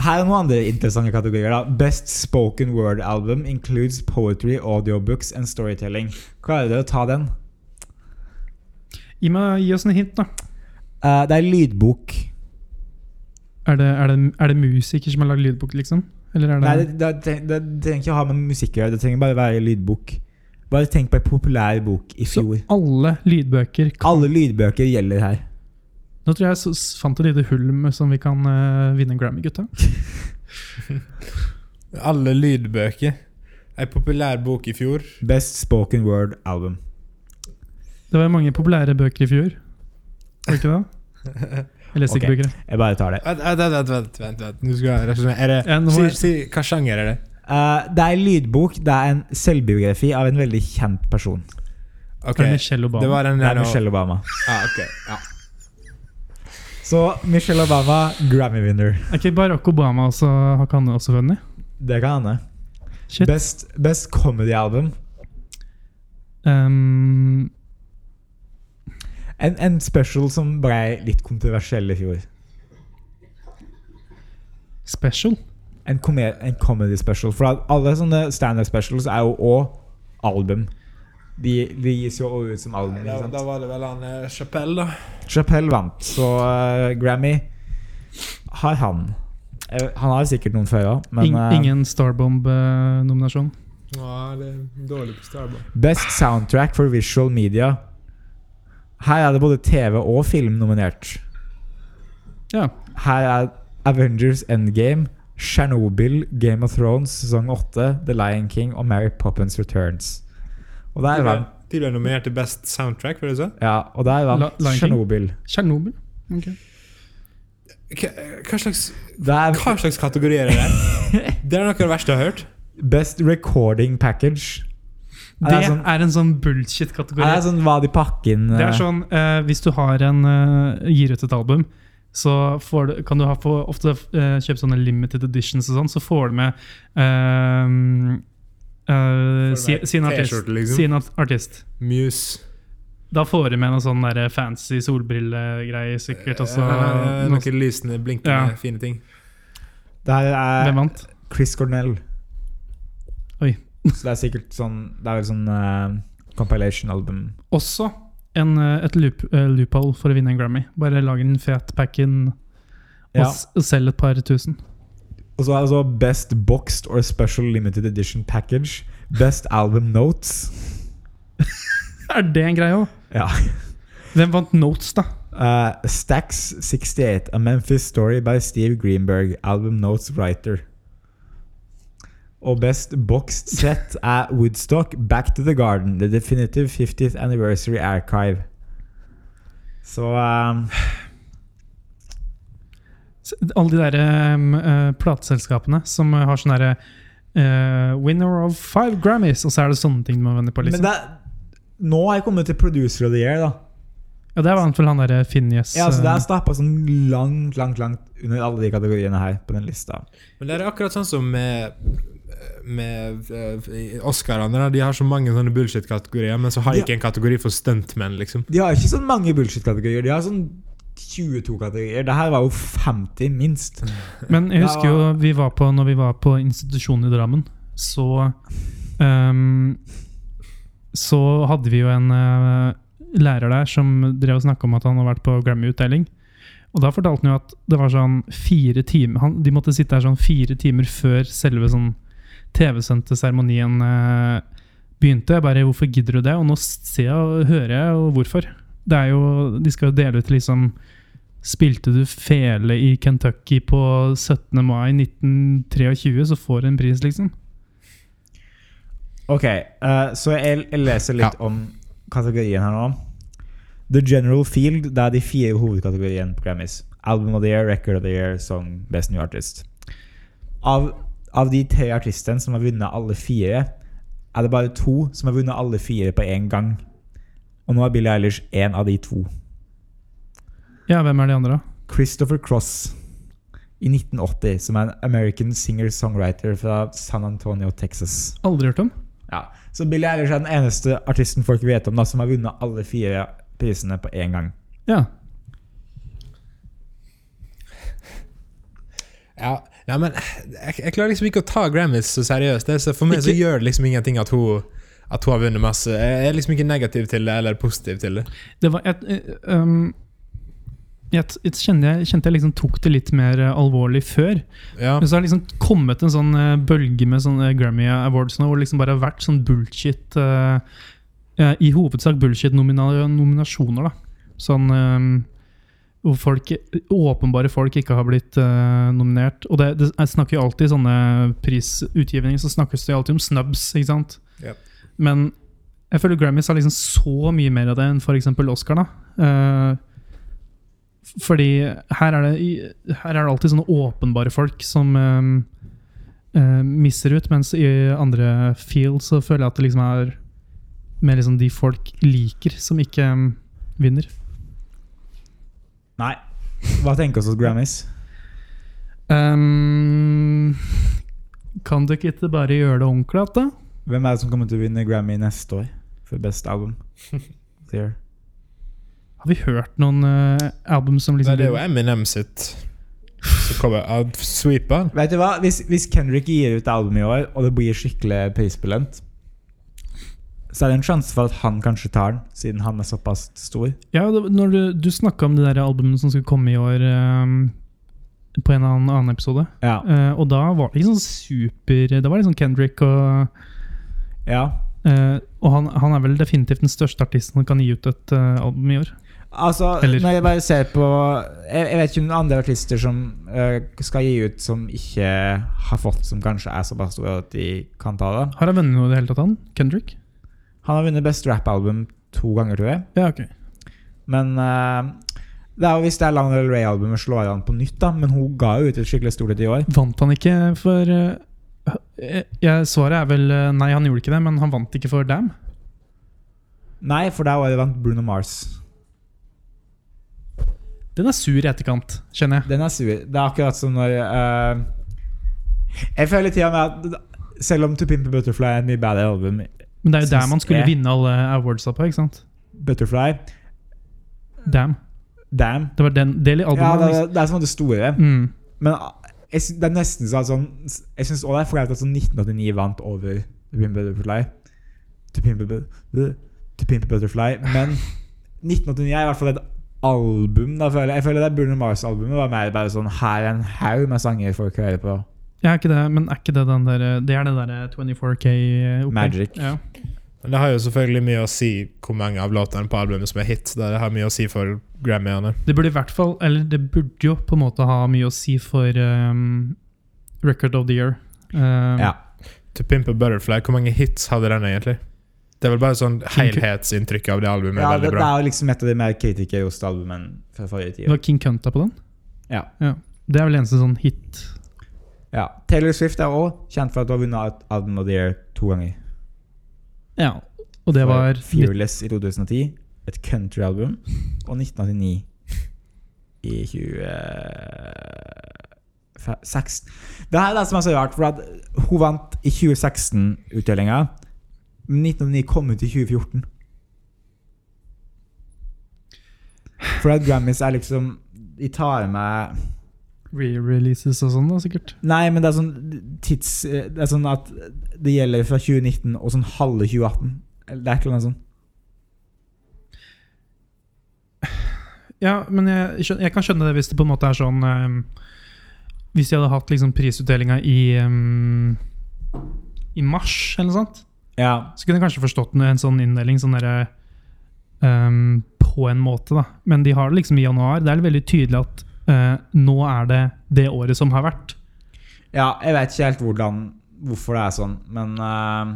S3: Her er noen andre interessante kategorier. da Best spoken word album includes poetry, audiobooks and storytelling. Klarer dere å ta den?
S2: gi, meg, gi oss en hint, da.
S3: Eh, det er lydbok.
S2: Er det, er det, er det musikere som har lagd lydbok, liksom? Eller er det,
S3: Nei, det, det, det, det trenger ikke å ha med musikk å gjøre. Det trenger bare være lydbok. Bare tenk på en populær bok i
S2: Så
S3: fjor.
S2: alle lydbøker kan
S3: Alle lydbøker gjelder her.
S2: Nå tror jeg jeg så- s- fant et lite hull med- som vi kan eh, vinne en Grammy, gutta.
S4: Alle lydbøker. Ei populær bok i fjor.
S3: Best spoken word album.
S2: Det var jo mange populære bøker i fjor. Var det ikke det? Jeg leste ikke
S3: Ok.
S2: bøker.
S3: Jeg bare tar det.
S4: Vent, vent, vent. vent, vent, vent, vent. Nå skal jeg resonere. Er det,
S2: Ja, nå
S4: si,
S2: må-
S4: si, hva sjanger er det?
S3: Eh, det er en lydbok. Det er en selvbiografi av en veldig kjent person.
S4: Ok,
S2: Er det Michelle Obama?
S4: Det var den
S3: Det
S4: der
S3: er
S4: nå.
S3: Michelle Obama.
S4: Ah, ok, ja.
S3: Så Michelle Obama, Grammy-winner.
S2: Er ikke Barack Obama også, har ikke han også vunnet?
S3: Det kan hende.
S2: Shit.
S3: Best, best comedy album.
S2: Ehm,
S3: En, en special som blei litt kontroversiell i fjor.
S2: special?
S3: En, kome- en comedy special. For at alle sånne standup specials er jo òg album. De, de gis jo også ut som album.
S4: Da,
S3: Ikke sant?
S4: da var det vel han eh, Chappelle, da.
S3: Chappelle vant, så eh, Grammy har han. Eh, Han har sikkert noen før òg, men
S2: Ing,
S3: eh,
S2: ingen eh, Starbomb-nominasjon?
S4: Ja, det er dårlig på Starbucks.
S3: Best soundtrack for visual media. Her er det både TV og film nominert.
S2: Ja.
S3: Her er Avengers Endgame, Chernobyl, Game of Thrones sesong 8, The Lion King og Mary Poppins Returns. Og der vant,
S4: De ble nominert til Best Soundtrack, var det sånn?
S3: ja, og der
S2: La-
S3: vant
S2: Lion King?
S3: Chernobyl.
S2: Tsjernobyl? Ok.
S4: Hva slags,
S3: Der,
S4: hva slags kategori er det der? Det er noe av det verste jeg har hørt.
S3: best recording package.
S2: Det
S3: Det er
S2: er,
S3: sånn-
S2: en sånn
S3: Det
S2: bullshit-kategori.
S3: er sånn hva de pakker inn
S2: Det
S3: eh,
S2: er sånn, eh, Hvis du har en, eh, gir ut et album, så får du, kan du ha på, ofte eh, kjøpe sånne limited editions og sånn, så får du med eh, eh, si,
S4: med
S2: sin, artist,
S4: T-skjorte, liksom.
S2: sin at- artist.
S4: Muse.
S2: Da får du med noe sånn der fancy solbrillegreier sikkert. Og så,
S4: Eh,
S2: noe,
S4: noen lysende, blinkende,
S2: Ja.
S4: fine ting.
S3: Det her er
S2: hvem vant?
S3: Chris Cornell.
S2: Oi.
S3: Så det er sikkert sånn Det er vel sånn eh, compilation album.
S2: Også en, eh, et loop, eh, loophole for å vinne en Grammy. Bare lag en fet pack-in og,
S3: Ja.
S2: s- og selg et par tusen.
S3: Og så er det så Best Boxed or Special Limited Edition Package. Best Album Notes.
S2: Er det en greie òg?
S3: Ja.
S2: Hvem vant Notes, da?
S3: Uh, Stacks 68, A Memphis Story by Steve Greenberg. Album Notes Writer. Og best boxed set er Woodstock, Back to the Garden. The Definitive 50th Anniversary Archive. Så um,
S2: S- Alle de der um, eh, plateselskapene som eh, har sånn derre eh, Winner of five Grammys, og så er det sånne ting man vender på.
S3: Men
S2: liksom.
S3: det, er- nå har jeg kommet til Producer of the Year, da.
S2: ja, Det var i hvert fall han derre Finjes.
S3: Ja, altså Det
S2: eh,
S3: er stappa sånn langt, langt langt under alle de kategoriene her på den lista.
S4: Men det er akkurat sånn som med med eh, Oscarene. da. De har så mange sånne bullshit-kategorier, men så har de
S3: Ja.
S4: ikke en kategori for stuntmenn, liksom.
S3: De har ikke sånn mange bullshit-kategorier. De har sånn 22 kategorier. Det her var jo 50, minst.
S2: Men jeg husker jo
S3: Ja.
S2: vi var på, når vi var på institusjonen i Drammen, så ehm, Så hadde vi jo en eh, lærer der som drev og snakka om at han hadde vært på Grammy-utdeling. Og da fortalte han jo at det var sånn fire timer han, De måtte sitte her sånn fire timer før selve sånn TV-sendte seremonien eh, begynte. Jeg bare Hvorfor gidder du det? Og nå ser jeg og hører jeg jo hvorfor. Det er jo De skal jo dele ut liksom Spilte du fele i Kentucky på 17. mai 1923, så får du en pris, liksom.
S3: Ok, eh, så jeg, jeg leser litt om kategorien her nå. The General Field, det er de fire hovedkategoriene på Grammys. Album of the Year, Record of the Year, Song, Best New Artist. Av, av de tre artistene som har vunnet alle fire, er det bare to som har vunnet alle fire på én gang. Og nå er Billie Eilish én av de to.
S2: Ja, hvem er de andre, da?
S3: Christopher Cross i 1980, som er en American singer-songwriter fra San Antonio, Texas.
S2: Aldri hørt om.
S3: Ja. Så Billie Eilish er den eneste artisten folk vet om da, som har vunnet alle fire prisene på én gang.
S2: Ja.
S4: Ja, nei, men jeg, jeg klarer liksom ikke å ta Grammys så seriøst. Det, er så for meg så
S2: Ikke-
S4: gjør det liksom ingenting at hun, at hun har vunnet masse. Jeg er liksom ikke negativ til det eller positiv til det.
S2: Det var et, eh, um, jeg, t- jeg kjente, jeg, kjente jeg liksom tok det litt mer eh, alvorlig før.
S4: Ja,
S2: Men så har det liksom kommet en sånn eh, bølge med sånne Grammy Awards nå, hvor det liksom bare har vært sånn bullshit eh, eh, I hovedsak bullshit-nominasjoner, da. Sånn eh, hvor folk, åpenbare folk ikke har blitt eh, nominert. Og det, det jeg snakker jo alltid i sånne prisutgivninger så snakkes det jo alltid om snubs, ikke sant?
S4: Ja.
S2: Men jeg føler Grammys har liksom så mye mer av det enn f.eks. Oscar. da. Eh, f- fordi her er, det, i- her er det alltid sånne åpenbare folk som eh, eh, misser ut, mens i andre field så føler jeg at det liksom er mer liksom de folk liker, som ikke eh, vinner.
S3: Nei. Hva tenker oss hos Grammys?
S2: Ehm, kan dere ikke bare gjøre det ordentlig, at da?
S3: Hvem er det som kommer til å vinne Grammy neste år for Best Album? The Year?
S2: Har vi hørt noen eh, album som
S4: Nei,
S2: liksom
S4: det er jo Eminem sitt som kommer. Han sweeper.
S3: Vet du hva? Hvis, hvis Kendrick gir ut album i år, og det blir skikkelig prisbelønt, så er det en sjanse for at han kanskje tar den, siden han er såpass stor.
S2: Ja, det, når du, du snakka om det der albumet som skulle komme i år ehm, på en annen, annen episode.
S3: Ja.
S2: Eh, og da var det ikke sånn super Da var det sånn Kendrick og
S3: ja.
S2: eh, Og han, han er vel definitivt den største artisten som kan gi ut et eh, album i år.
S3: Altså,
S2: Eller-
S3: når jeg bare ser på Jeg, jeg vet ikke om det er andre artister som eh, skal gi ut som ikke har fått, som kanskje er såpass store at de kan ta det.
S2: Har han vunnet noe i det hele tatt, han? Kendrick?
S3: Han har vunnet Best Rap-album to ganger, tror jeg.
S2: Ja, ok.
S3: Men eh, det er jo hvis det er Lana Del Rey-albumet slår an på nytt, da. Men hun ga jo ut et skikkelig stort et i år.
S2: Vant han ikke for eh, eh, jeg, Svaret er vel eh, nei, han gjorde ikke det, men han vant ikke for Dam.
S3: Nei, for der var det vant Bruno Mars.
S2: Den er sur i etterkant, kjenner jeg.
S3: Den er sur. Det er akkurat som når eh, Jeg føler tida med at selv om To Pimp a Butterfly er et mye bedre album,
S2: Men det er jo
S3: Syns
S2: der man skulle
S3: jeg.
S2: vinne alle awardsa på, ikke sant?
S3: Butterfly
S2: Dam.
S3: Damn.
S2: Det var den del i
S3: Ja,
S2: albumet.
S3: det,
S2: liksom.
S3: er- det er som det store.
S2: Mm.
S3: Men ah, jeg, sy- det er nesten sånn, sånn Jeg syns også det er flaut at sånn 1989 vant over To Pimp a Butterfly. To Pimp a Bu- To Pimp a Butterfly. Men 1989 er i hvert fall et album. Da, føler jeg. jeg føler det Bruno Mars-albumet var mer bare sånn Her er en haug med sanger folk hører på.
S2: Ja, er ikke det, men er ikke det den der eh, Det er det derre 24K eh, opplegg.
S3: Magic.
S2: Ja.
S4: Men det har jo selvfølgelig mye å si hvor mange av låtene på albumet som er hit. Det har mye å si for Grammyene.
S2: Det burde i hvert fall Eller det burde jo på en måte ha mye å si for ehm, Record of the Year. Ehm,
S3: Ja.
S4: To Pimp a Butterfly, hvor mange hits hadde den egentlig? Det er vel bare sånn helhetsinntrykk av det albumet.
S3: ja det,
S4: veldig
S3: det
S4: bra.
S3: er jo liksom et av de mer kritikerroste albumene fra forrige
S2: Det
S3: tid.
S2: var King Kunta på den?
S3: Ja.
S2: Det er vel eneste sånn hit.
S3: Ja. Taylor Swift er òg kjent for at hun har vunnet et Album of the Year to ganger.
S2: Ja. Og det
S3: For
S2: var
S3: Fearless i 2010, et countryalbum, og 1989 i 2016. Det her er det som er så rart, for at hun vant i 2016-utdelinga. Men 1989 kom ut i 2014. For at Grammys er liksom De tar med
S2: re-releases og sånn, da, sikkert.
S3: Nei, men det er sånn tids... Det er sånn at det gjelder fra 2019 og sånn halve 2018. Eller Det er ikke noe sånn.
S2: Ja, men jeg, skjøn- jeg kan skjønne det hvis det på en måte er sånn ehm, Hvis de hadde hatt liksom prisutdelinga i ehm, I mars, eller noe sånt.
S3: Ja.
S2: Så kunne jeg kanskje forstått en sånn inndeling sånn derre, ehm, på en måte, da. Men de har det liksom i januar. Det er veldig tydelig at eh, nå er det det året som har vært.
S3: Ja, jeg vet ikke helt hvordan Hvorfor det er sånn, men eh,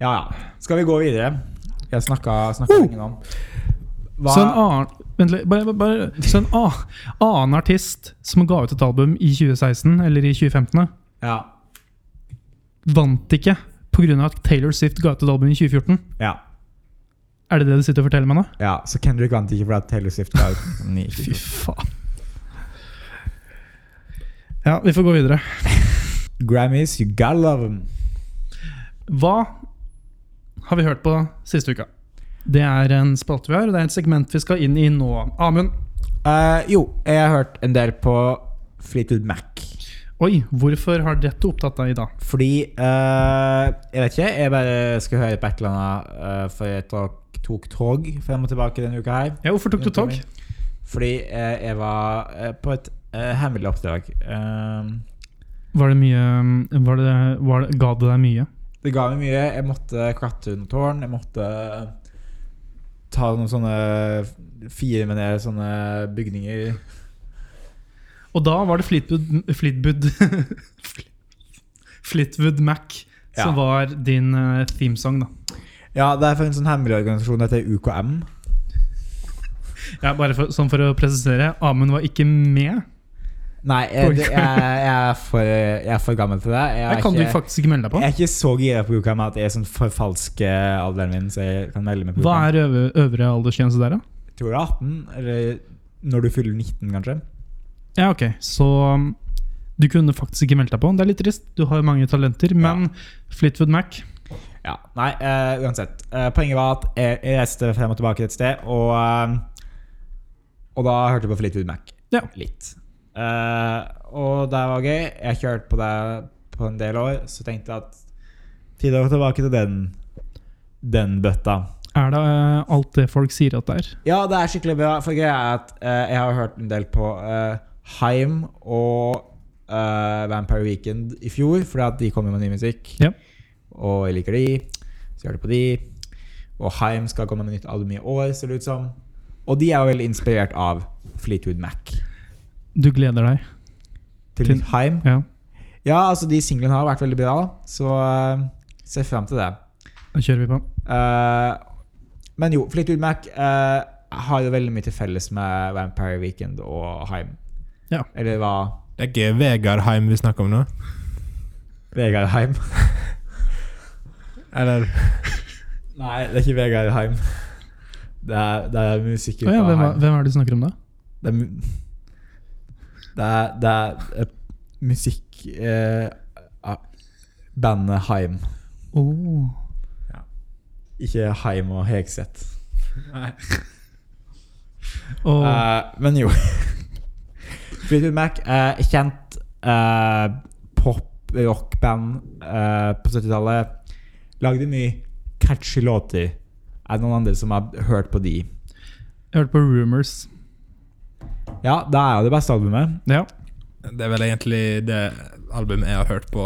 S3: Ja, ja. Skal vi gå videre? Jeg snakka, snakka lenge nå. Hva,
S2: Så en annen Vent litt. Bare, bare, så en a- annen artist som ga ut et album i 2016, eller i 2015,
S3: ja,
S2: vant ikke pga. at Taylor Swift ga ut et album i 2014.
S3: ja,
S2: Er det det du sitter og forteller meg nå?
S3: ja. Så Kendrick vant ikke fordi at Taylor Swift var ny.
S2: Fy faen. Ja, vi får gå videre.
S3: Grammys, you gotta love them.
S2: Hva har vi hørt på siste uka? Det er en spalte vi har, og det er et segment vi skal inn i nå. Amund,
S3: Eh, jo, jeg har hørt en del på Fleetwood Mac.
S2: oi, hvorfor har dette opptatt deg i dag?
S3: Fordi eh, Jeg vet ikke. Jeg bare skal høre på et eller annet, eh, for jeg tok, tok tog frem og tilbake denne uka her.
S2: Ja, hvorfor tok du tog?
S3: Fordi eh, jeg var eh, på et eh, hemmelig oppdrag. Ehm,
S2: Var det mye um, var det, var det, Ga det deg mye?
S3: det ga meg mye. Jeg måtte klatre under tårn. Jeg måtte eh, ta noen sånne firmenede sånne bygninger.
S2: Og da var det Fleetwood Fleetwood, Fleetwood Mac som
S3: Ja.
S2: var din eh, themesong, da.
S3: Ja, det er for en sånn hemmelig organisasjon. Det heter UKM.
S2: Ja, bare for, sånn for å presisere, Amund var ikke med.
S3: Nei, jeg, det- jeg, jeg, er, for, jeg er for gammel til det. Jeg
S2: Det
S3: er
S2: kan du
S3: ikke-
S2: faktisk ikke melde deg på.
S3: Jeg er ikke så gira på UKM at jeg er sånn forfalsker alderen min, så jeg kan melde meg på
S2: Hva
S3: UKM.
S2: er øvre, øvre aldersgrense der, da?
S3: Jeg tror det er 18, eller når du fyller 19, kanskje.
S2: Ja, ok. Så um, du kunne faktisk ikke meldt deg på. Det er litt trist. Du har jo mange talenter, men Fleetwood Mac
S3: Ja, Nei, eh, uansett. Eh, poenget var at jeg, jeg reiste frem og tilbake et sted, og, eh, og da hørte jeg på Fleetwood Mac.
S2: Ja.
S3: Litt. Eh, og det var gøy. Jeg har ikke hørt på det på en del år, så tenkte jeg at tid å gå tilbake til den, den bøtta.
S2: er det uh, alt det folk sier at det er.
S3: Ja, det er skikkelig bra. For greia er at eh, jeg har hørt en del på eh, Haim og eh, Vampire Weekend i fjor, fordi at de kommer med ny musikk.
S2: Ja.
S3: Og jeg liker de, så jeg hørte på de. Og Haim skal komme med nytt album i år, ser det ut som. Og de er jo veldig inspirert av Fleetwood Mac.
S2: Du gleder deg.
S3: Til
S2: Til-
S3: nytt Haim.
S2: Ja.
S3: Ja, altså, de singlene har vært veldig bra, så uh, ser frem til det.
S2: Da kjører vi på.
S3: Eh, men jo, Fleetwood Mac eh, har jo veldig mye til felles med Vampire Weekend og Heim.
S2: Ja.
S3: Eller hva?
S4: Det er ikke Vegard Heim vi snakker om nå?
S3: Vegard Heim.
S4: Eller
S3: Nei, det er ikke Vegard Heim. Det er, det er musikken
S2: Å ja,
S3: fra
S2: hvem, er-
S3: Heim.
S2: hvem er det du snakker om da?
S3: Det er, mu- det er, det er eh, musikk eh, ah, Bandet Heim.
S2: Oh.
S3: Ikke Heim og Hegseth.
S4: Nei.
S2: Og
S3: Eh, men jo. Fleetwood Mac er kjent eh, pop-rock-band eh, på 70-tallet. Lagde mye catchy låter. Er det noen andre som har hørt på de?
S2: jeg hørte på Rumors.
S3: Ja, det er jo det beste albumet.
S2: Ja.
S4: Det er vel egentlig det albumet jeg har hørt på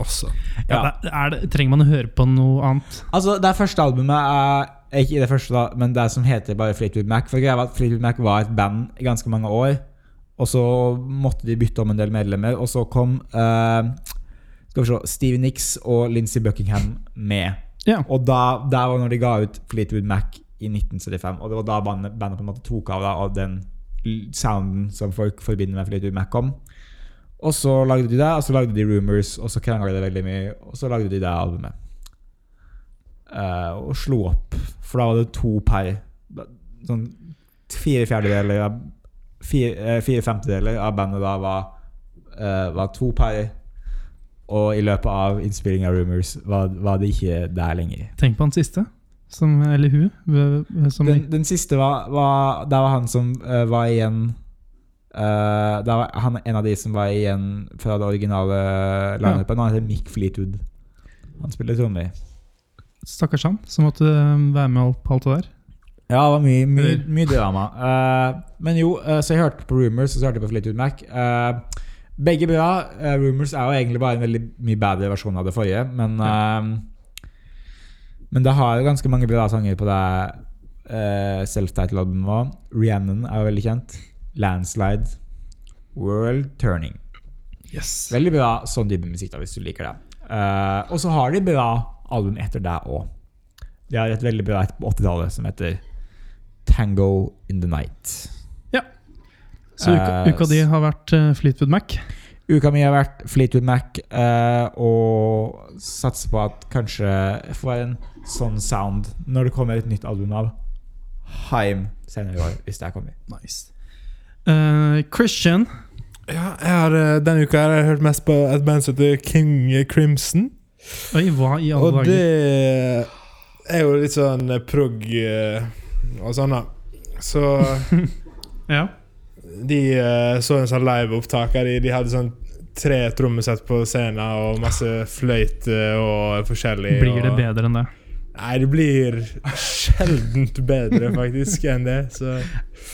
S4: også.
S2: ja.
S3: Ja.
S2: det- Er det, trenger man å høre på noe annet?
S3: Altså, det første albumet er ikke det første, da, men det som heter bare Fleetwood Mac. For greia var at Fleetwood Mac var et band i ganske mange år. Og så måtte de bytte om en del medlemmer, og så kom eh, skal vi se, Stevie Nicks og Lincy Buckingham med.
S2: Ja.
S3: Og da, der var når de ga ut Fleetwood Mac i 1975. Og det var da bandet, bandet på en måte tok av da, av den l- sounden som folk forbinder med Fleetwood Mac om. Og så lagde de det, og så lagde de Rumors, og så krangla de veldig mye. Og så lagde de det albumet. Eh, og slo opp, for da var det to per. Da- Sånn fire fjerdedeler av Fire, eh, fire femtedeler av bandet da var, eh, var to per. Og i løpet av innspillinga av Rumors var, var det ikke der lenger.
S2: Tenk på han siste. Som, eller hun. v- v- Som,
S3: Den, den siste var, var Der var han som eh, var igjen eh, Der var han en av de som var igjen fra det originale lineupen. Han heter Mick Fleetwood. Han spiller trommer.
S2: stakkars han, som måtte øh, være med alt- på alt det der.
S3: Ja, det var mye, mye,
S4: Eller-
S3: mye drama. Eh, men jo, eh, så jeg hørte på Rumors, og så hørte jeg på Fleetwood Mac. Eh, begge bra. Eh, Rumors er jo egentlig bare en veldig mye bedre versjon av det forrige, men eh, Men det har jo ganske mange bra sanger på det uh, self-titled-albumet òg. Rhiannon er jo veldig kjent. Landslide. World Turning.
S2: Yes.
S3: Veldig bra sånn type musikk, da, hvis du liker det. Eh, og så har de bra album etter det òg. De har et veldig bra et på 80-tallet som heter Tango in the Night.
S2: Så uka,
S3: Eh,
S2: uka di har vært eh, Fleetwood Mac.
S3: Uka mi har vært Fleetwood Mac, eh, og satser på at kanskje jeg får en sånn sound når det kommer et nytt album av Haim senere i år, hvis det her kommer.
S2: Nice. Eh, Christian.
S4: Ja, jeg har, eh, denne uka her har jeg hørt mest på et band som heter King Crimson.
S2: Oi, hva i alle
S4: Og
S2: dager?
S4: det er jo litt sånn eh, prog eh, og sånn, da. Så
S2: Ja.
S4: de eh, så en sånn liveopptak av de. De hadde sånn tre trommesett på scenen og masse fløyt eh, og forskjellig.
S2: Blir det
S4: og-
S2: bedre enn det?
S4: Nei, det blir sjeldent bedre, faktisk, enn det. Så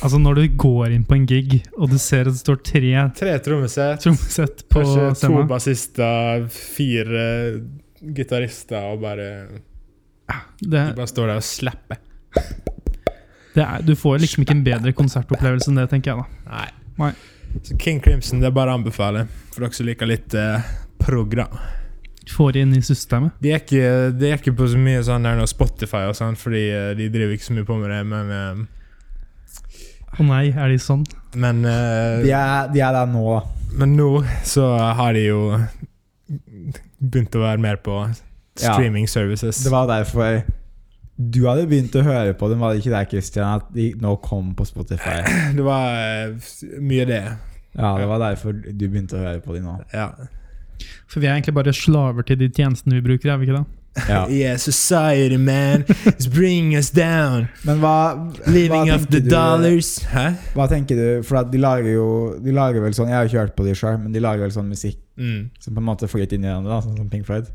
S2: Altså, når du går inn på en gig, og du ser at det står tre
S4: tre trommesett,
S2: trommesett på
S4: kanskje to
S2: scenen
S4: bassister, fire gitarister, og bare
S2: det,
S4: De bare står der og slapper.
S2: det er, Du får liksom ikke en bedre konsertopplevelse enn det, tenker jeg da.
S4: Nei.
S2: Nei.
S4: Så King Crimson det er bare å anbefale for dere som liker litt eh, program.
S2: Får det inn i systemet.
S4: De er, ikke, de er ikke på så mye sånn der nå Spotify og sånn, fordi eh, de driver ikke så mye på med det, men eh,
S2: Å nei, er de sånn?
S4: men, eh,
S3: De er, de er der nå.
S4: men nå så har de jo begynt å være mer på
S3: Ja.
S4: streaming services.
S3: Det var derfor du hadde begynt å høre på dem, var det ikke det, Christian? At de nå kom på Spotify?
S4: Det var eh, mye det.
S3: Ja, det var derfor du begynte å høre på dem nå.
S4: Ja.
S2: For vi er egentlig bare slaver til de tjenestene vi bruker, er vi ikke det?
S3: Ja.
S4: Yeah, society, man. It's bringing us down.
S3: Men hva, hva
S4: Living off the
S3: tenker du
S4: dollars. Hæ?
S3: Hva tenker du? For at de lager jo De lager vel sånn Jeg har ikke hørt på de sjøl, men de lager vel sånn musikk
S4: Mm.
S3: som på en måte flyter inn i hverandre, da, sånn som Pink Floyd.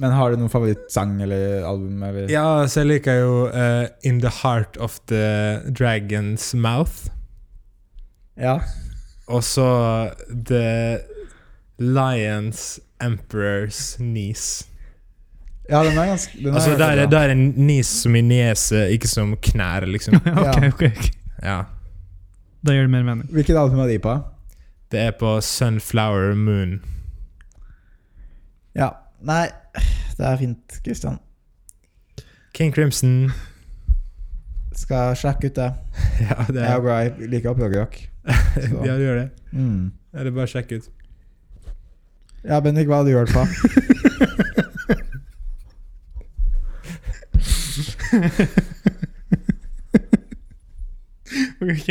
S3: Men har du noen favorittsang eller album? Eller?
S4: Ja, så jeg liker jo eh, In the Heart of the Dragon's Mouth.
S3: Ja.
S4: Og så The Lions Emperor's Niece.
S3: Ja, den er ganske den er
S4: Altså, der, er-
S3: ganske bra.
S4: der er en niece som i niese, ikke som knær, liksom.
S2: ok, ok, ok.
S4: Ja.
S2: Da gjør det mer mening.
S3: Hvilket album er de på?
S4: Det er på Sunflower Moon.
S3: Ja. Nei, det er fint, Kristian.
S4: King Crimson.
S3: Skal sjekke ut det.
S4: Ja, det
S3: Jeg
S4: er
S3: er glad i liker opprørerrock. så.
S4: Ja, du gjør det.
S3: Mm.
S4: Ja, det er bare å sjekke ut.
S3: Ja, Bendik, hva har du hørt på?
S2: Ok.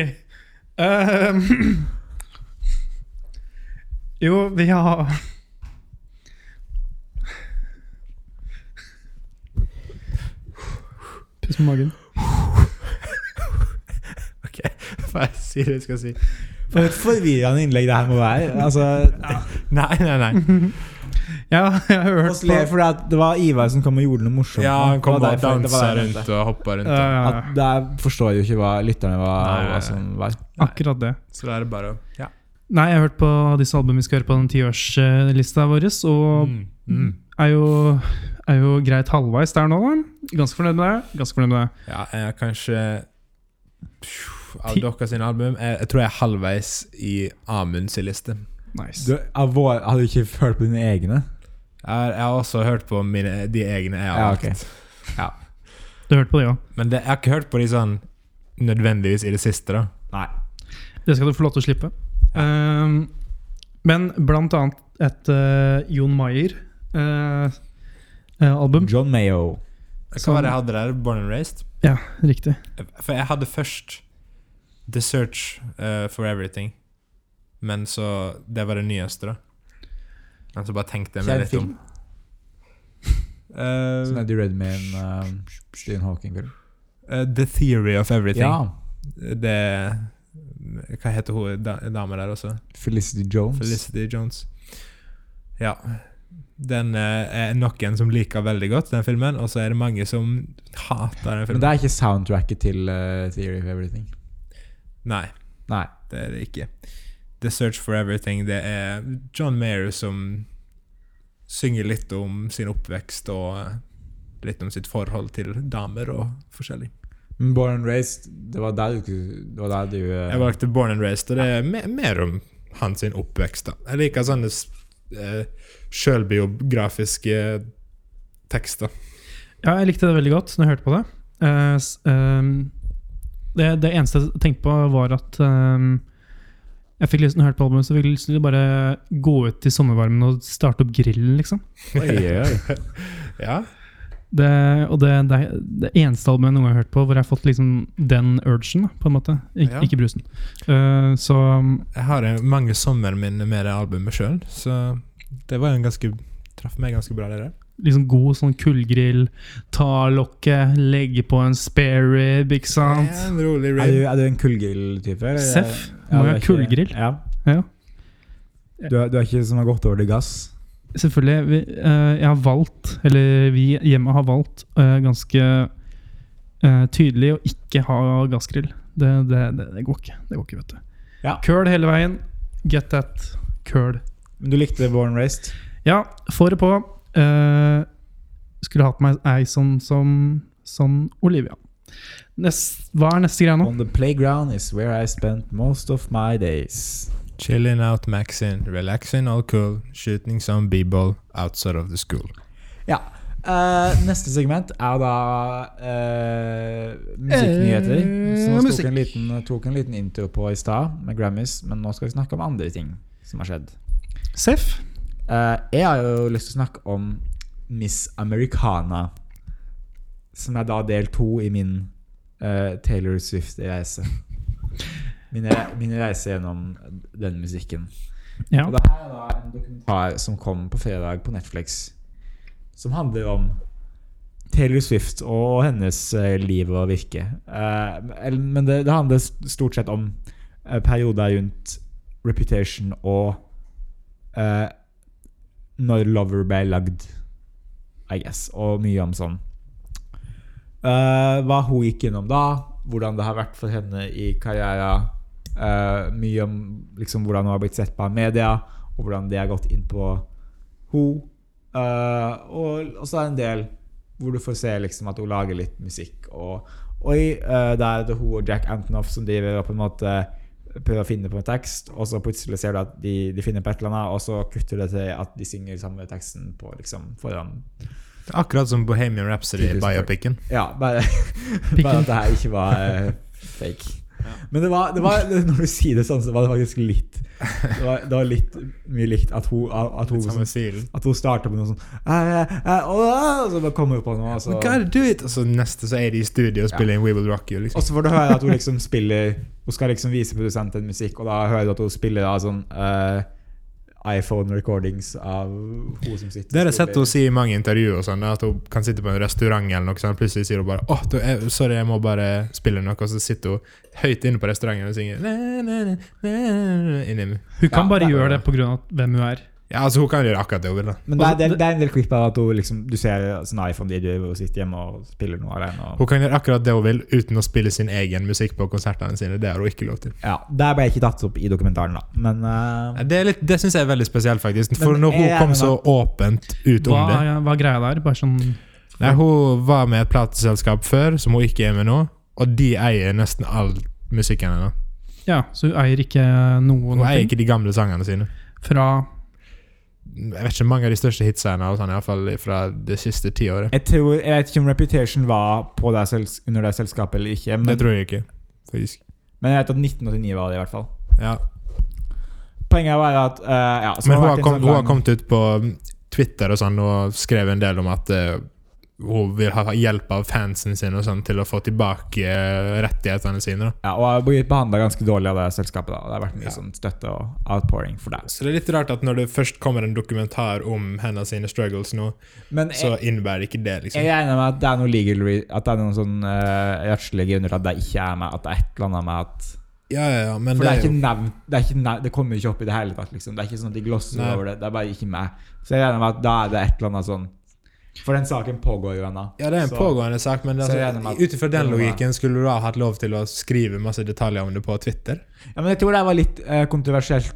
S2: Ehm, jo, vi har Pust med magen.
S4: Hva jeg sier jeg skal si?
S3: For et forvirrende innlegg det her må være. Altså,
S4: Nei, nei, nei.
S2: Ja, jeg har hørt
S3: også ler
S2: på
S3: fordi at det var Ivar som kom og gjorde noe morsomt.
S4: Ja, han
S3: Det
S4: kommer
S3: var
S4: og
S3: derfor- det var
S4: danser
S3: derfor-
S4: rundt og hopper rundt.
S2: Ja,
S4: og-
S2: ja,
S3: At
S2: ja.
S3: der forstår jeg jo ikke hva lytterne var,
S4: Nei, nei,
S3: hva
S4: nei.
S3: som var.
S2: Akkurat det.
S4: Så da er det bare å Ja.
S2: Nei, jeg har hørt på disse albumene vi skal høre på den tiårslista vår, og
S4: Mm. Mm.
S2: er jo, er jo greit halvveis der nå, da. Ganske fornøyd med det. Ganske fornøyd med det.
S4: Ja, jeg er kanskje Phew, Av
S2: Ti-
S4: deres sin album jeg, jeg tror jeg er halvveis i Amunds liste.
S2: Nice.
S3: Du, av vår, har du ikke hørt på dine egne?
S4: Jeg har, jeg har også hørt på mine, de egne jeg har
S3: Ja,
S4: ja,
S3: ok.
S2: Du hørte på det òg.
S4: Men det, jeg har ikke hørt på de sånn nødvendigvis i det siste, da.
S3: Nei.
S2: Det skal du få lov til å slippe. Ehm, men blant annet et eh, Jon eh, Maier-album.
S3: John Mayo.
S4: Hva
S2: Sånn.
S4: var det jeg hadde der? Born and Raised?
S2: ja, riktig.
S4: For jeg hadde først The Search eh, for Everything. Men så Det var det nyeste, da. Men så bare tenkte jeg meg
S3: Kjær
S4: litt om.
S3: film. Som Eddie Redmayne, um, Stephen Hawking-film.
S4: Eh, The Theory of Everything.
S3: Ja.
S4: det Hva heter hun da, dama der også?
S3: Felicity Jones.
S4: Felicity Jones. Ja. Den eh, er nok en som liker veldig godt den filmen, og så er det mange som hater den
S3: Men
S4: filmen.
S3: det er ikke soundtracket til uh, Theory of Everything.
S4: Nei,
S3: Nei.
S4: det er det ikke. The Search for Everything, det er John Mayer som synger litt om sin oppvekst og litt om sitt forhold til damer og forskjellig.
S3: Men Born and Raised, det var der du Det var der du eh,
S4: Jeg valgte Born and Raised, og det er me mer om hans sin oppvekst. da. Jeg liker sånne uh, sjølbiografiske tekster.
S2: Ja, jeg likte det veldig godt når jeg hørte på det. Eh, s- ehm, Det, det eneste jeg tenkte på, var at ehm, jeg fikk lyst til å høre på albumet, så jeg fikk lyst til å bare gå ut i sommervarmen og starte opp grillen, liksom.
S3: Oi, oi.
S4: Ja.
S2: Det, og det, det, er det eneste albumet jeg noen gang har hørt på hvor jeg har fått liksom den urgen, da, på en måte. Ik
S4: Ja.
S2: Ikke brusen. Eh, så
S4: Jeg har eh, mange sommer mine med det albumet sjøl, så det var jo en ganske Traff meg ganske bra, det der.
S2: liksom god sånn kullgrill, ta lokket, legge på en spare rib, ikke sant?
S4: Ja, en rolig
S3: Er, du,
S4: rave.
S3: er du en kullgrill-type? eller?
S2: Seff. Må
S3: Ja, du
S2: jo
S3: er
S2: ha
S3: ikke-
S2: kullgrill.
S3: Ja.
S2: Ja.
S3: Du, er- du er ikke som har gått over til gass?
S2: Selvfølgelig. Vi, eh, jeg har valgt, eller vi hjemme har valgt, eh, ganske eh, tydelig å ikke ha gassgrill. Det, det, det, det går ikke. Det går ikke, vet du.
S3: Ja.
S2: Curl hele veien. Get that curl.
S3: Men du likte Born Raised?
S2: Ja, fåret på. Eh, skulle hatt meg ei sånn som sånn Olivia. Nest, hva er neste greie nå?
S3: On the playground is where I spent most of my days.
S4: Chilling out, maxing, relaxing, all cool, shooting some b-ball outside of the school.
S3: Ja. eh, neste segment er da eh, musikknyheter.
S2: Eh,
S3: Som vi tok en, liten, tok en liten intro på i stad, med Grammys. Men nå skal vi snakke om andre ting som har skjedd.
S2: Seff.
S3: Eh, jeg har jo lyst til å snakke om Miss Americana. Som er da del to i min eh, Taylor Swift-reise. Min, re- min reise gjennom den musikken.
S2: Ja.
S3: Og det her er da en dokumentar som kom på fredag på Netflix. Som handler om Taylor Swift og hennes eh, liv og virke. Eh, eller- men det, det handler st- stort sett om eh, perioder rundt reputation og eh, når Lover ble lagd, I guess. Og mye om sånn eh, hva hun gikk gjennom da, hvordan det har vært for henne i karrieren. eh, mye om liksom, hvordan hun har blitt sett på av media, og hvordan det har gått inn på hun. Eh, og, og så er det en del hvor du får se liksom, at hun lager litt musikk. Og, og i, eh, der er det hun og Jack Antonoff som driver og på en måte prøver å finne på en tekst, og så plutselig ser du at de, de finner på et eller annet, og så kutter det til at de synger samme teksten på, liksom, foran
S4: Det er Akkurat som Bohemian Rhapsody i
S3: Tusen takk.
S4: biopicen.
S3: Ja, bare, bare at det her ikke var eh, fake. Men det var, det var, når du sier det sånn, så var det faktisk litt Det var, det var litt mye likt at hun, at hun, liksom-
S4: Samme stilen.
S3: at hun starta med noe sånn eh, eh, åh, Og så bare kommer hun på noe, og
S4: We
S3: så,
S4: gotta do it! Og så Altså, neste så er de i studio og spiller inn We Will Rock You. liksom.
S3: og så får du høre at hun liksom spiller Hun skal liksom vise produsenten musikk, og da hører du at hun spiller da sånn eh, iPhone recordings av hun som sitter og
S4: Det har jeg sett
S3: spiller.
S4: henne si i mange intervjuer, og sånn, at hun kan sitte på en restaurant eller noe sånt, plutselig sier hun bare åh, du, jeg, 'Sorry, jeg må bare spille noe', og så sitter hun høyt inne på restauranten og synger næ, næ, næ, næ, næ, inni.
S2: Hun kan
S3: Ja,
S2: bare
S3: det-
S2: gjøre det pga. hvem hun er.
S4: Ja, altså Hun kan gjøre akkurat det hun vil. da.
S3: Men det er, det, er- det er en del klipp av at hun liksom, du ser sånn iPhone-DJ hvor hun sitter hjemme og spiller noe alene. Og
S4: Hun kan gjøre akkurat det hun vil uten å spille sin egen musikk på konsertene sine. Det har hun ikke lov til.
S3: Ja, Der ble jeg ikke tatt opp i dokumentaren, da. Men eh,
S4: Det, er litt- det syns jeg er veldig spesielt, faktisk. For
S3: Men
S4: når hun
S3: er-
S4: kom så åpent ut
S2: Hva,
S4: om det
S2: hva er greia der? Bare sånn
S4: Nei, Hun var med et plateselskap før, som hun ikke er med nå, og de eier nesten all musikken hennes.
S2: Ja, så hun eier ikke noe
S4: Hun
S2: noe
S4: eier ikke de gamle sangene sine.
S2: fra
S4: jeg vet ikke, mange av de største hitsene og sånn, i hvert fall fra det siste tiåret.
S3: jeg, tror, jeg vet ikke om Reputation var på det sels under det selskapet eller ikke.
S4: Det
S3: Men,
S4: tror jeg ikke, faktisk.
S3: men jeg vet at 1989 var det, i hvert fall.
S4: Ja.
S3: Poenget var at eh, ja, så
S4: Men hun
S3: det vært
S4: har,
S3: en
S4: kom,
S3: sånn
S4: hun har
S3: lang-
S4: kommet ut på mm, Twitter og sånn og skrevet en del om at eh, hun vil ha hjelp av fansen sin og sånn til å få tilbake eh, rettighetene sine. da.
S3: ja, Og har blitt behandla ganske dårlig av det selskapet. da Og Det har vært mye
S4: Ja.
S3: sånn støtte og outpouring for det.
S4: Så det er litt rart at når det først kommer en dokumentar om hennes sine struggles nå,
S3: Men jeg,
S4: så innebærer ikke det, liksom.
S3: jeg regner med at det er noe legal re At det er noen sånn eh, rettslige grunner til at det ikke er med. At det er et eller annet med at
S4: Ja, ja, ja, men
S3: For
S4: det er
S3: ikke
S4: jo
S3: nevnt, det, er ikke nev- det kommer ikke opp i det hele tatt. Liksom. Det er ikke sånn at de glosser
S4: Nei.
S3: over det. Det er bare ikke meg. Så jeg regner med at da er det et eller annet sånn For den saken pågår jo ennå.
S4: ja, det er en
S3: Så-
S4: pågående sak, men
S3: Så jeg regner
S4: altså,
S3: med at-
S4: ut ifra den
S3: det må være-
S4: logikken skulle du da hatt lov til å skrive masse detaljer om det på Twitter?
S3: Ja, men jeg tror det var litt eh, kontroversielt,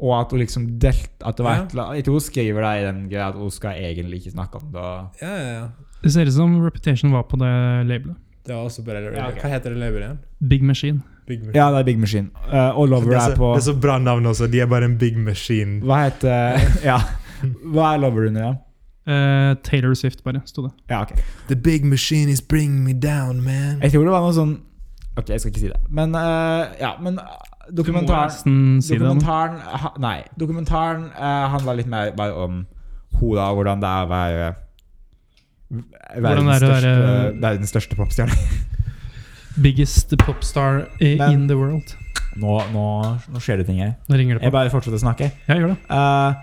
S3: og at hun liksom delt At det var
S4: Ja.
S3: et eller annet Jeg tror hun skriver det i den greia at hun skal egentlig ikke snakke om det. og-
S4: Ja, ja, ja.
S2: Det ser ut som Reputation var på det labelet.
S4: Det var også på det
S3: Ja, ok.
S4: Hva heter det label igjen?
S2: Big Machine.
S4: Big Machine.
S3: Ja, det er Big Machine. Eh, og Lover
S4: det, er
S3: er,
S4: så,
S3: på
S4: det er så bra navn også. De er bare en big machine.
S3: Hva heter Ja. Hva er Lover under, da?
S2: Eh, Taylor Swift, bare, sto det.
S3: Ja, ok.
S4: The big machine is bringing me down, man.
S3: Jeg tror det var noe sånn Ok, jeg skal ikke si det. Men eh, ja, men eh,
S2: Du må
S3: dokumentaren
S2: nesten si det. nå.
S3: Dokumentaren ha, Nei. Dokumentaren eh, handla litt mer bare om Hoda og hvordan det er å være
S2: Hvordan
S3: verdens
S2: det er å
S3: største,
S2: være-
S3: verdens største popstjerne.
S2: Biggest popstar i,
S3: Men-
S2: in the world.
S3: Nå, nå, nå skjer det ting her.
S2: Nå ringer det
S3: Jeg
S2: på.
S3: bare fortsetter å snakke.
S2: Ja, gjør det.
S3: Eh,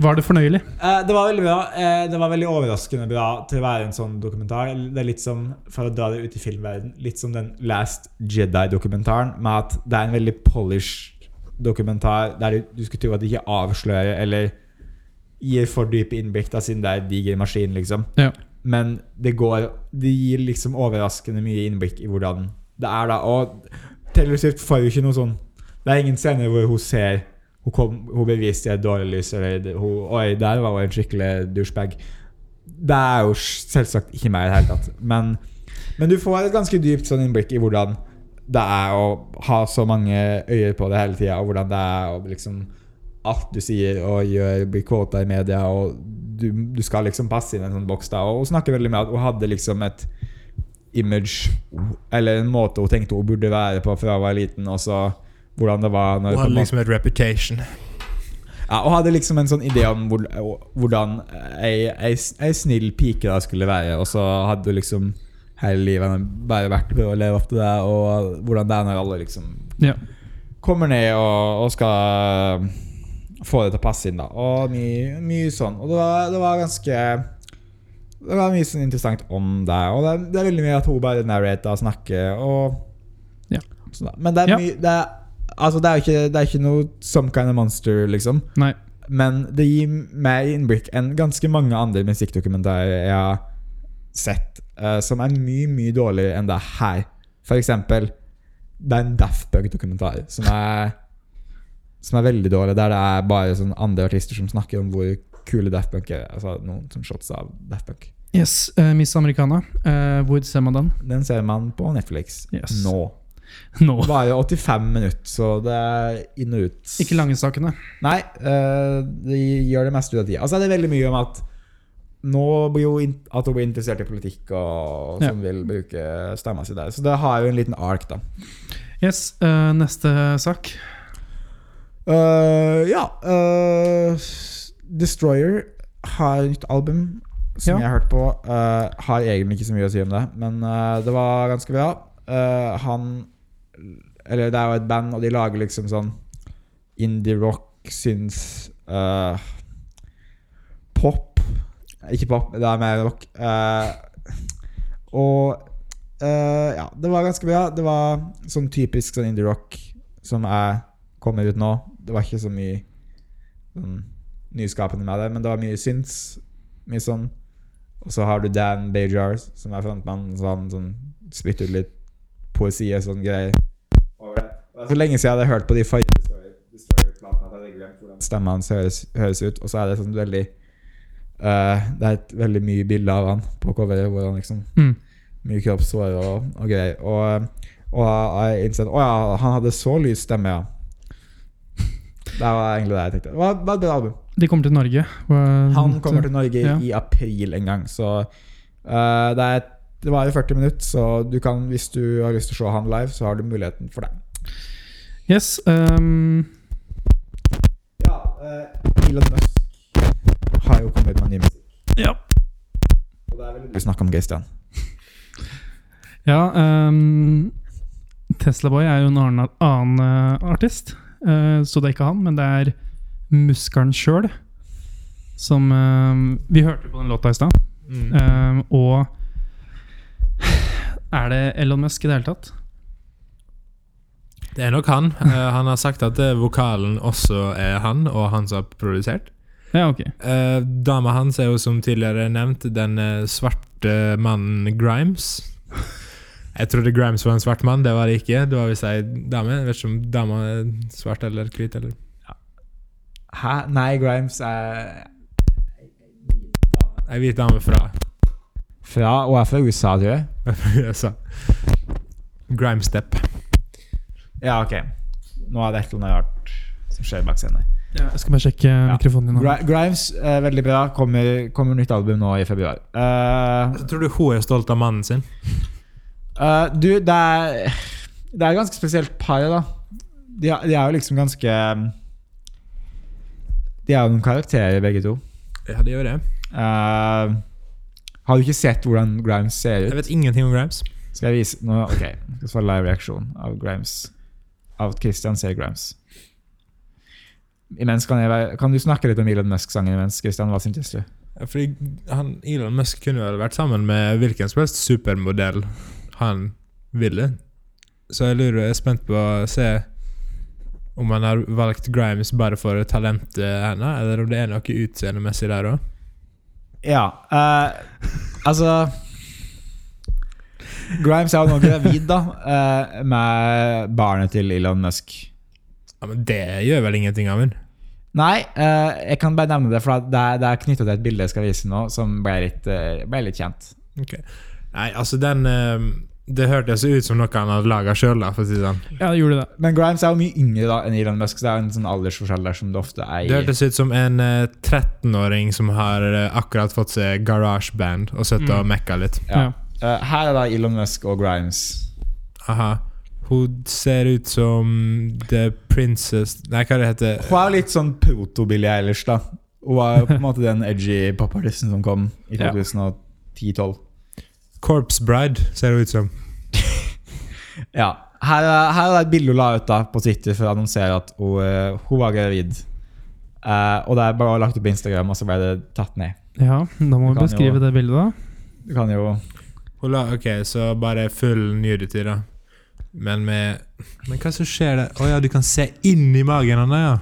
S2: Var det fornøyelig?
S3: Eh, Det var veldig bra. Eh, Det var veldig overraskende bra til å være en sånn dokumentar. Det er litt som, for å dra det ut i filmverden, litt som den Last Jedi-dokumentaren, med at det er en veldig polished dokumentar der du- du skulle tro at de ikke avslører eller gir for dype innblikk, da, siden det er en diger maskin, liksom.
S2: Ja.
S3: Men det går Det gir liksom overraskende mye innblikk i hvordan det er, da. Og Taylor Swift får jo ikke noe sånn Det er ingen scener hvor hun ser hun, kom, hun blir vist i et dårlig lys, eller det- hun, Oi, der var hun en skikkelig douchebag. Det er jo selvsagt ikke meg i det hele tatt. Men, men du får et ganske dypt sånn innblikk i hvordan det er å ha så mange øyne på det hele tida, og hvordan det er å liksom Alt du sier og gjør, blir quota i media, og du, du skal liksom passe inn i en sånn boks. da Og hun snakker veldig med at hun hadde liksom et image, eller en måte hun tenkte hun burde være på fra hun var liten, og så hvordan det var når på
S4: Hun
S3: en
S4: hadde
S3: måte-
S4: liksom et reputation.
S3: ja, og hadde liksom en sånn idé om hvor, hvordan ei, ei, ei snill pike da skulle være, og så hadde du liksom hele livet henne bare vært prøvd å leve opp til det, og hvordan det er når alle liksom
S2: Ja.
S3: kommer ned og, og skal få det til å passe inn, da. Og mye, mye sånn. Og det var, det var ganske Det var mye sånn interessant om det, og det, er- det er veldig mye at hun bare narrater og snakker, og
S2: Ja.
S3: sånn da. Men det er
S2: Ja.
S3: mye det er, Altså, det er jo ikke, det er ikke noe some kind of monster, liksom.
S2: Nei.
S3: Men det gir mer innblikk enn ganske mange andre musikkdokumentarer jeg har sett, eh, som er mye, mye dårligere enn det her. For eksempel, det er en Daft Punk-dokumentar som er som er veldig dårlig, der det er bare sånn andre artister som snakker om hvor kule Daft Punk er. Altså noen som shots av Daft Punk.
S2: Yes, eh, Miss Americana. Eh, hvor ser man den?
S3: Den ser man på Netflix
S2: Yes.
S3: nå.
S2: Nå.
S3: Bare 85 minutter, så det er inn og ut.
S2: Ikke lange sakene.
S3: Nei, eh, de gjør det meste ut av tida. Og så er det veldig mye om at nå blir jo in at hun blir interessert i politikk og som vil bruke stemma si der. Så det har jo en liten ark, da.
S2: Yes, eh, neste sak.
S3: Eh, ja eh, Destroyer har et nytt album som
S2: Ja.
S3: jeg har hørt på. Eh, har egentlig ikke så mye å si om det, men eh, det var ganske bra. Eh, han Eller det er jo et band, og de lager liksom sånn indie-rock, syns eh, Pop. Ikke pop, det er mer rock. Eh, og eh, ja, det var ganske bra. Det var sånn typisk sånn indie-rock som er kommer ut nå. Det var ikke så mye sånn, nyskapende med det, men det var mye syns. Mye sånn. Og så har du Dan Bajars, som er frontmann, så han sånn, spytter ut litt poesi og sånn greier. over det. Og det er Så lenge siden jeg hadde hørt på de forrige Destroyer- Destroyer-platene at jeg hadde glemt hvordan stemmen hans høres, høres ut. Og så er det sånn veldig eh, Det er et veldig mye bilde av han på coveret, hvor han liksom
S2: Mm.
S3: mye kroppshår og, og greier. Og, og jeg innså at å ja, han hadde så lys stemme, ja. Det var egentlig det jeg tenkte. Det var, var et bra album.
S2: De kommer til Norge. Hva-
S3: Han kommer til Norge
S2: Mm, Ja.
S3: i april en gang, så eh, det, er, et- det varer 40 minutter. Så du kan, hvis du har lyst til å se han live, så har du muligheten for det.
S2: Yes. ehm,
S3: Ja, eh, Elon Musk har jo kommet med ny musikk.
S2: ja.
S3: Og det er veldig snakk om Christian.
S2: ja ehm, Tesla Boy er jo en annen, annen eh, artist, eh, så det er ikke han, men det er muskelen sjøl som ehm, Vi hørte på den låta i stad,
S4: Mm.
S2: ehm, og Er det Elon Musk i det hele tatt?
S4: Det er nok han. Eh, han har sagt at eh, vokalen også er han, og han som har produsert.
S2: Ja, ok.
S4: Uh, dama hans er jo som tidligere nevnt den eh, svarte mannen Grimes. Jeg trodde Grimes var en svart mann, det var det ikke. Det var visst ei dame. Jeg vet ikke om dama er svart eller hvit eller
S3: Hæ? Nei, Grimes er
S4: Ei hvit dame fra
S3: fra og er fra USA, tror jeg.
S4: USA. Grimestep.
S3: Ja, ok. Nå er det et eller annet rart som skjer bak scenen.
S2: jeg skal bare sjekke eh, mikrofonen din. nå.
S3: Gri- Grimes, eh, veldig bra. Kommer, kommer nytt album nå i februar. Eh,
S4: Tror du hun er stolt av mannen sin?
S3: eh, du, det er Det er et ganske spesielt par, da. De, er- de er jo liksom ganske De er jo noen karakterer, begge to.
S4: Ja, det gjør jeg.
S3: Eh, har du ikke sett hvordan Grimes ser ut?
S4: Jeg vet ingenting om Grimes.
S3: Skal jeg vise nå, Ok, jeg skal få live reaksjon av Grimes. Av at Christian ser Grimes. Imens kan, jeg, være- kan du snakke litt om Elon Musk-sangen imens, Christian? Hva syntes du?
S4: Ja, Fordi han, Elon Musk kunne vel vært sammen med hvilken som helst supermodell han ville. Så jeg lurer, jeg er spent på å se om han har valgt Grimes bare for talentet hennes, eller om det er noe utseendemessig der òg.
S3: Ja, eh, altså Grimes er jo nå gravid, da, eh, med barnet til Elon Musk.
S4: Ja, men det gjør vel ingenting av henne?
S3: Nei, eh, jeg kan bare nevne det, for det er, det er knytta til et bilde jeg skal vise nå, som ble litt, eh, ble litt kjent.
S4: Ok. Nei, altså den eh, Det hørtes ut som noe han hadde laga sjøl, for å si det sånn.
S2: Ja, det gjorde det.
S3: Men Grimes er jo mye yngre da enn Elon Musk, så det er jo en sånn aldersforskjell der som det ofte er. i-
S4: Det hørtes ut som en eh, 13-åring som har eh, akkurat fått seg garasjeband og sittet og mekka litt.
S3: Ja. Eh, her er da Elon Musk og Grimes.
S4: Aha. Hun ser ut som The Princess Nei, hva det heter
S3: Hun er jo litt sånn proto-Billie Eilish, da. Hun var jo på en måte den edgy popartisten som kom i
S2: Ja.
S3: 2010-12.
S4: Corpse Bride ser hun ut som.
S3: Ja. Her er, her er et bilde hun la ut da på Twitter for å annonsere at hun, eh, hun var gravid. Eh, og det er bare lagt ut på Instagram, og så ble det tatt ned.
S2: Ja, da må vi
S3: Det kan jo-
S2: beskrive det bildet, da.
S3: Du kan jo
S4: Hun la, ok, så bare full nudity, da. Men med Men hva som skjer der? Å ja, du kan se inn i magen hans, ja.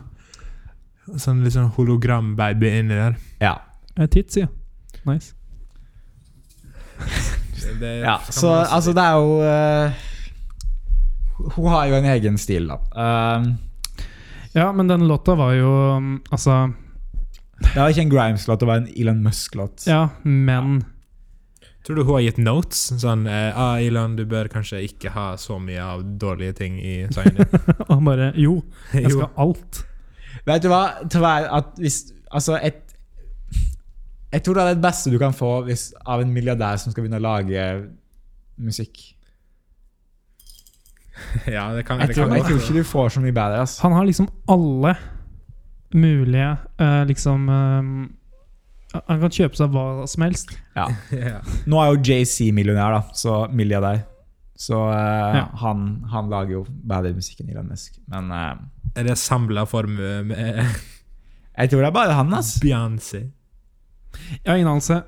S4: Sånn litt sånn hologrambaby inni der.
S3: Ja.
S2: Eh, Tits, ja. Nice.
S4: Det- det
S3: ja.
S4: kan
S3: Så
S4: man også-
S3: altså, det er jo eh, Hun har jo en egen stil, da. Eh,
S2: Ja, men den låta var jo um, Altså,
S3: det var ikke en Grimes-låt, det var en Elon Musk-låt.
S2: ja, men
S4: Tror du hun har gitt notes? Sånn eh, ah, 'Elon, du bør kanskje ikke ha så mye av dårlige ting i sangen din'.
S2: Og han bare Jo, jeg
S4: Jo.
S2: skal ha alt.
S3: Vet du hva? Til hver- at hvis, altså et, jeg tror det er det beste du kan få hvis, av en milliardær som skal begynne å lage musikk.
S4: ja, det kan,
S3: Jeg
S4: det
S3: tror,
S4: kan
S3: jeg tror
S4: godt-
S3: ikke du får så mye bedre. ass.
S2: Han har liksom alle mulige eh, liksom eh, Han kan kjøpe seg hva som helst.
S4: ja.
S3: Nå er jo JC millionær, da, så milliardær. Så eh,
S2: Ja.
S3: han, han lager jo bedre musikk enn Elon Musk. Men eh,
S4: Er det samla formue med
S3: jeg tror det er bare han. ass.
S4: Beyoncé?
S2: Jeg har ingen anelse.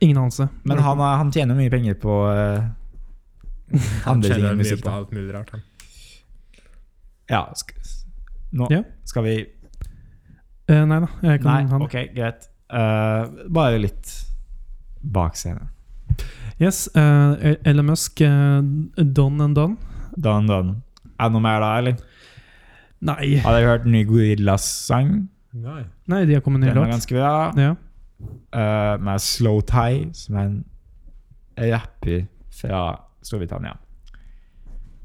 S2: Ingen anelse.
S3: Men han, er- han tjener mye penger på eh, andre ting
S4: Tjener
S3: enn
S4: mye
S3: musikk.
S4: på
S3: Da.
S4: alt mulig rart. Han.
S3: Ja, sk nå
S2: Ja.
S3: skal vi
S2: Eh, Nei da. Jeg kan
S3: Nei,
S2: han.
S3: ok, greit. Eh, bare litt bak scenen.
S2: Yes. eh, Elon Musk, eh, Don and Don.
S3: Done, done. Er det noe mer da, eller?
S2: Nei.
S3: Har dere hørt ny Gorillas-sang?
S4: Nei.
S2: Nei, de har kommet
S3: Den
S2: ned
S3: er
S2: låt.
S3: ganske bra.
S2: Ja.
S3: Eh, med Slow Tie, som er en rapper fra Storbritannia.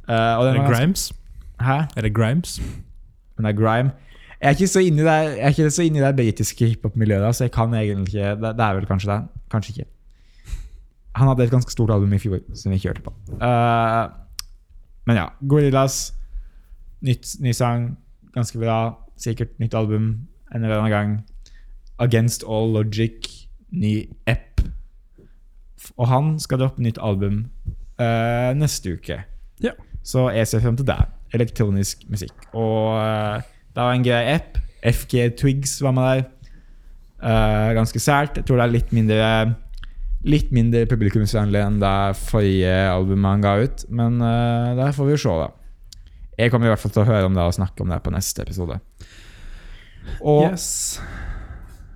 S3: Eh, og
S4: Er
S3: den
S4: det
S3: er ganske...
S4: Grimes?
S3: Hæ?
S4: Er det Grimes?
S3: Den er grime. Jeg er ikke så inne i det, jeg er ikke så inne i det britiske hiphop-miljøet, da, så jeg kan egentlig ikke det, det er vel kanskje det. Kanskje ikke. Han hadde et ganske stort album i fjor som vi ikke hørte på. Eh, men ja. Gorillas. Nytt, ny sang. Ganske bra. Sikkert nytt album en eller annen gang. Against All Logic. Ny app. Og han skal droppe nytt album eh, neste uke.
S2: Ja.
S3: Så jeg ser frem til det. Elektronisk musikk. Og eh, det var en grei app. FG Twigs var med der. Eh, ganske sært. Jeg tror det er litt mindre Litt mindre publikumsvennlig enn det forrige albumet han ga ut. Men eh, der får vi jo se, da. Jeg kommer i hvert fall til å høre om det og snakke om det på neste episode. Og
S2: Yes.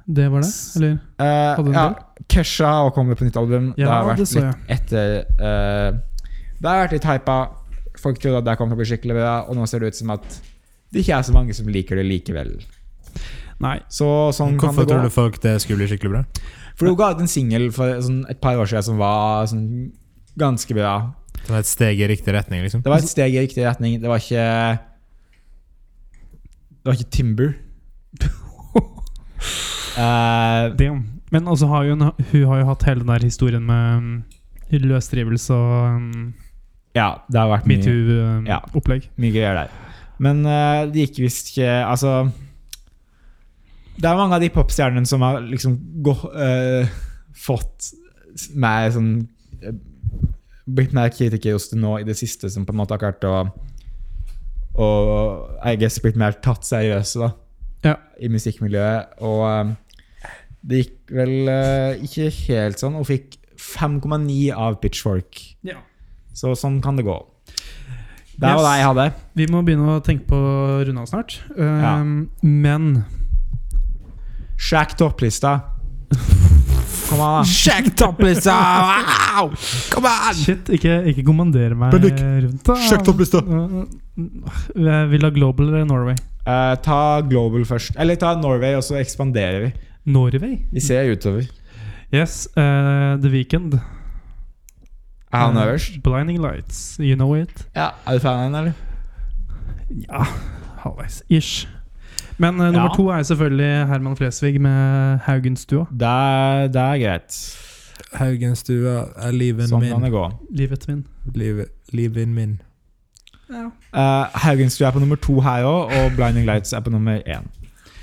S2: Det var det, eller?
S3: eh,
S2: Hadde du en
S3: ja,
S2: del?
S3: Kesha og kommer på nytt album. det
S2: Ja,
S3: har vært
S2: det så jeg.
S3: litt etter eh, Det har vært litt hypa. Folk trodde at det kom til å bli skikkelig bra, og nå ser det ut som at det ikke er så mange som liker det likevel.
S2: Nei.
S3: Så sånn kan det
S4: Hvorfor tror
S3: gå.
S4: du folk det skulle bli skikkelig bra?
S3: For hun ga ut en singel for sånn, et par år siden som var sånn, ganske bra.
S4: Det var et steg i riktig retning, liksom?
S3: Det var
S2: Altså-
S3: et steg i riktig retning. Det var ikke Det var ikke Timber. Eh,
S2: Det. Men altså har jo en, hun har jo hatt hele den der historien med um, løsdrivelse mm, og mm, um,
S3: Ja, det har vært mye, Ja.
S2: metoo-opplegg.
S3: mye greier der. Men eh, det gikk visst ikke Altså Det er mange av de popstjernene som har liksom gå, eh, fått mer sånn eh, Blitt mer kritikerrost nå i det siste, som på en måte har klart å Og I guess blitt mer tatt seriøse, da
S2: Ja.
S3: i musikkmiljøet. Og eh, det gikk vel eh, ikke helt sånn. Hun fikk 5,9 av Pitchfork.
S2: Ja.
S3: Så sånn kan det gå. Det var
S2: Yes.
S3: det jeg hadde.
S2: Vi må begynne å tenke på å runde av snart. Ehm, Men
S3: Sjekk topplista. Kom an, da.
S4: Sjekk topplista! Wow! Kom an!
S2: shit, ikke, ikke kommander meg
S4: Bendik,
S2: rundt. da.
S4: sjekk topplista.
S2: Jeg Vil ha Global eller Norway?
S3: Eh, ta Global først. Eller ta Norway, og så ekspanderer vi.
S2: Norway?
S3: Vi ser utover.
S2: Yes. eh, The Weekend.
S3: Er han øverst?
S2: Blinding Lights. You know it.
S3: Ja. Er du fan av henne, eller?
S2: Ja, halvveis. Ish. Men eh, nummer
S3: Ja.
S2: to er selvfølgelig Herman Flesvig med Haugenstua.
S3: Det er, det er greit.
S4: Haugenstua er liven
S3: Sånn kan
S4: min.
S3: det gå.
S2: Livet min.
S4: Livet, liven min.
S3: Uh, Haugenstua er på nummer to her òg, og Blinding Lights er på nummer én.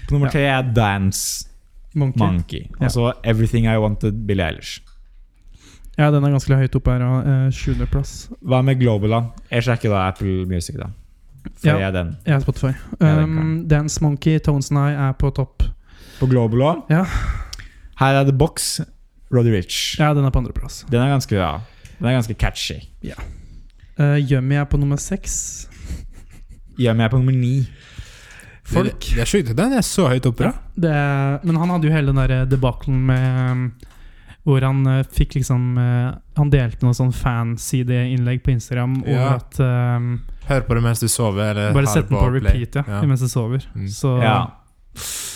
S3: På nummer
S2: Ja.
S3: tre er Dance.
S2: Monkey.
S3: Monkey.
S2: Ja.
S3: Og så Everything I Wanted Billie Eilish.
S2: Ja, den er ganske høyt oppe her. Uh, Sjuendeplass.
S3: Hva med Global, da? Jeg sjekker da Apple Music, da. For
S2: Ja.
S3: jeg er den.
S2: Jeg er Spotify.
S3: Ja, den
S2: Um, Dance Monkey, Tones and I er på topp.
S3: På Global òg.
S2: Ja.
S3: Her er The Box, Roddy Rich.
S2: Ja, den er på andreplass.
S3: Den er ganske bra. Den er ganske catchy.
S2: Uh, Yummy er på nummer seks.
S3: Gjør meg på nummer ni.
S2: Folk.
S4: Det, det er sjukt. Den er så høyt oppe, da.
S2: Det er, men han hadde jo hele den der eh, debakelen med um, Hvor han eh, fikk liksom eh, Han delte noe sånn fan-CD-innlegg på Instagram over
S4: Ja. Eh,
S2: at um,
S4: Hør på det mens du sover. Eller
S2: Bare
S4: har
S2: sett den på
S4: play.
S2: repeat, ja, mens jeg sover.
S4: Mm.
S2: Så
S3: Ja.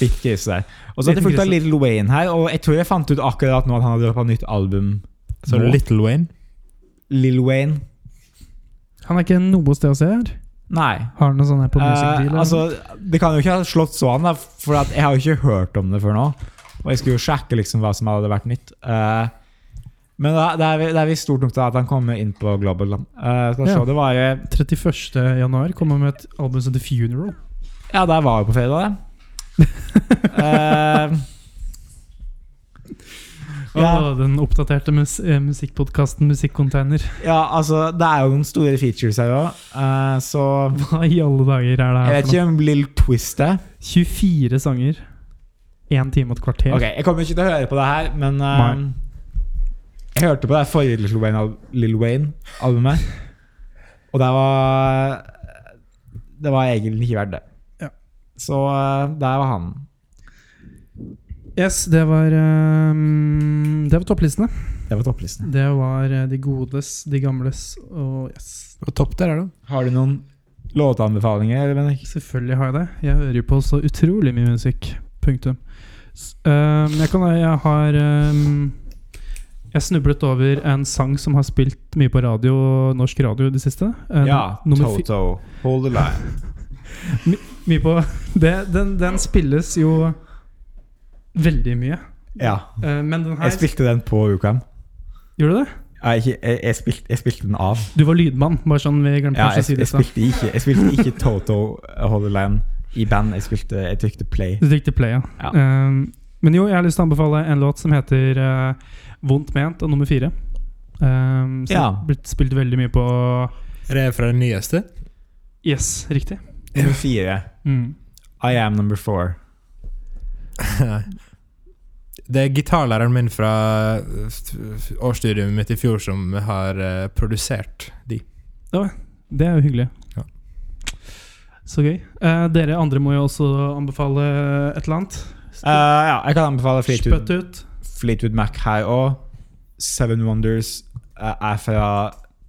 S3: Litt grise der. Og så hadde
S2: Liten
S3: jeg fulgt av
S2: grise.
S3: Little Wayne her, og jeg tror jeg fant ut akkurat nå at han hadde droppet nytt album.
S4: Så
S3: Nå.
S4: Little Wayne.
S3: Lil Wayne?
S2: han er ikke noe sted å se her.
S3: Nei.
S2: Har han noe sånn her på Music
S3: Eh,
S2: Deal? eller?
S3: altså, det kan jo ikke ha slått så an, da, for at jeg har jo ikke hørt om det før nå. Og jeg skulle jo sjekke liksom hva som hadde vært nytt. Eh, men da, det, er, vi- det er visst stort nok til at han kommer inn på Global. da. Eh, skal vi
S2: Ja.
S3: se, det var jo
S2: 31. januar kommer han med et album som heter Funeral.
S3: Ja, der var jo på fredag, det. Eh, Ja.
S2: Åh, den oppdaterte mus eh, musikkpodkasten Musikkcontainer.
S3: ja, altså, det er jo noen store features her òg, så
S2: Hva i alle dager er det
S3: Jeg
S2: her?
S3: vet
S2: for noe?
S3: ikke om Lill Twist er
S2: 24 sanger. Én time og et kvarter.
S3: Ok, Jeg kommer ikke til å høre på det her, men eh,
S2: Nei.
S3: Jeg hørte på det forrige Little Wayne- Lil Wayne-albumet. Og det var Det var egentlig ikke verdt det.
S2: Ja.
S3: Så eh, der var han.
S2: Yes, det var ehm, Det var topplistene.
S3: Det var topplisten.
S2: Det var eh, de godes, de gamles og yes.
S4: Og topp der, er det.
S3: Har du noen låteanbefalinger? Bendik?
S2: Selvfølgelig har jeg det. Jeg hører jo på så utrolig mye musikk. Punktum. S- ehm, jeg kan Jeg har ehm, Jeg snublet over en sang som har spilt mye på radio, norsk radio i det siste. Eh,
S3: Ja,
S2: nummer fi-
S3: Toto. Hold the line.
S2: mye på det, den, den spilles jo veldig mye.
S3: Ja.
S2: Eh, men den her
S3: Jeg spilte den på UKM.
S2: Gjorde du det?
S3: Nei, ikke, jeg, jeg, spilte, jeg spilte den av.
S2: Du var lydmann, bare sånn vi glemte
S3: Ja,
S2: kanskje å
S3: jeg,
S2: si
S3: jeg,
S2: det. i stad.
S3: spilte ikke, jeg spilte ikke Toto eh, Hold the line i band. Jeg, spilte, jeg trykte play.
S2: Du trykte play, ja.
S3: Ja.
S2: Ehm, men jo, jeg har lyst til å anbefale en låt som heter eh, Vondt ment og nummer fire. Um, som
S3: Ja.
S2: har blitt spilt veldig mye på
S4: Er det fra den nyeste?
S2: Yes, riktig.
S3: Nummer fire.
S2: Mm.
S3: I am number four.
S4: Nei. Det er gitarlæreren min fra eh, f- årsstudiet mitt i fjor som har eh, produsert de.
S2: Det er jo hyggelig.
S4: Ja.
S2: Så gøy. Eh, dere andre må jo også anbefale et eller annet.
S3: Eh, ja, jeg kan anbefale
S2: Spytt
S3: Fleetwood,
S2: ut.
S3: Fleetwood Mac her òg. Seven Wonders eh, er fra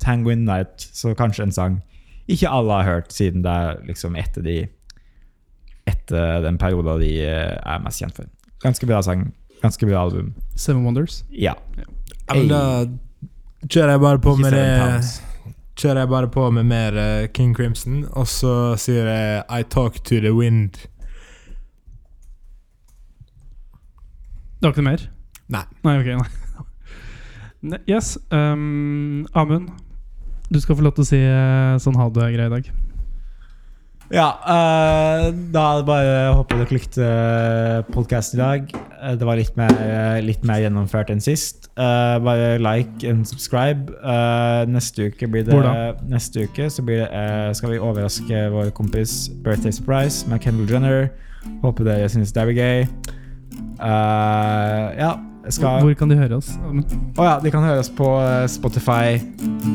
S3: Tanguin Night, så kanskje en sang ikke alle har hørt, siden det er liksom etter de Etter den perioden de eh, er mest kjent for. Ganske bra sang. Ganske bra album.
S2: Seven Wonders.
S3: Ja.
S4: Ja, men
S3: Ei.
S4: da kjører jeg bare på
S3: ikke
S4: med
S3: Seven
S4: det
S3: Pounds.
S4: Kjører jeg bare på med mer eh, King Crimson, og så sier jeg I talk to the wind.
S2: Det var ikke noe mer?
S4: Nei.
S2: Nei, ok, nei. Ne- Yes. ehm, Amund, Du skal få lov til å si eh, sånn ha det-greie i dag.
S3: Ja, eh, da er det bare å håpe dere likte podkasten i dag. Eh, det var litt mer, eh, litt mer gjennomført enn sist. Eh, bare like and subscribe. Eh, neste uke blir det
S2: Hvor da?
S3: Neste uke så blir det, eh, skal vi overraske vår kompis Birthday Surprise med Kendall Jenner. Håper dere syns det blir gøy. Eh, ja, jeg skal
S2: Hvor kan de høre oss?
S3: Å ja, de kan høre oss på eh, Spotify,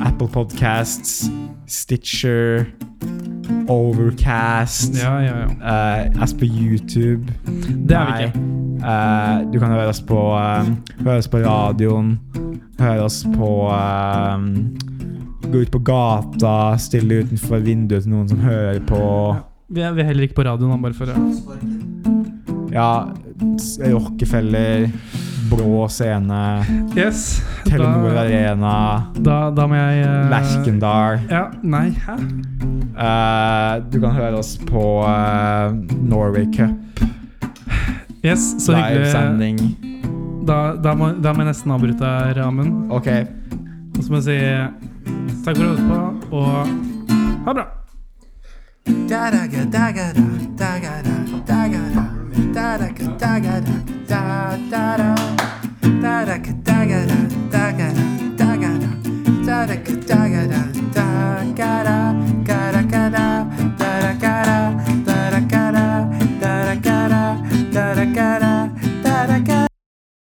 S3: Apple Podcasts, Stitcher, Overcast.
S2: Ja, ja, ja.
S3: eh, oss på YouTube.
S2: Det er vi ikke.
S3: eh, du kan høre oss på eh, Høre oss på radioen. Høre oss på eh, Gå ut på gata, stille utenfor vinduet til noen som hører på.
S2: Vi er, vi er heller ikke på radioen, han bare for å
S3: Ja, s- Rockefeller, Brå scene,
S2: Yes.
S3: Telenor
S2: Da,
S3: Arena,
S2: da, da må jeg eh,
S3: Lerkendal.
S2: Ja, nei, hæ?
S3: Eh, du kan høre oss på eh, Norway Cup.
S2: Yes, så hyggelig.
S3: Livesending.
S2: Da, da, må, da må jeg nesten avbryte deg, Amund.
S3: Ok.
S2: Og så må jeg si takk for at du hørte på, og ha det bra.
S5: Da-da-ka-da-ga-da, da-ga-da, da-ga-da, da-ga-da, da-da-ka-da-ga-da, da-ga-da,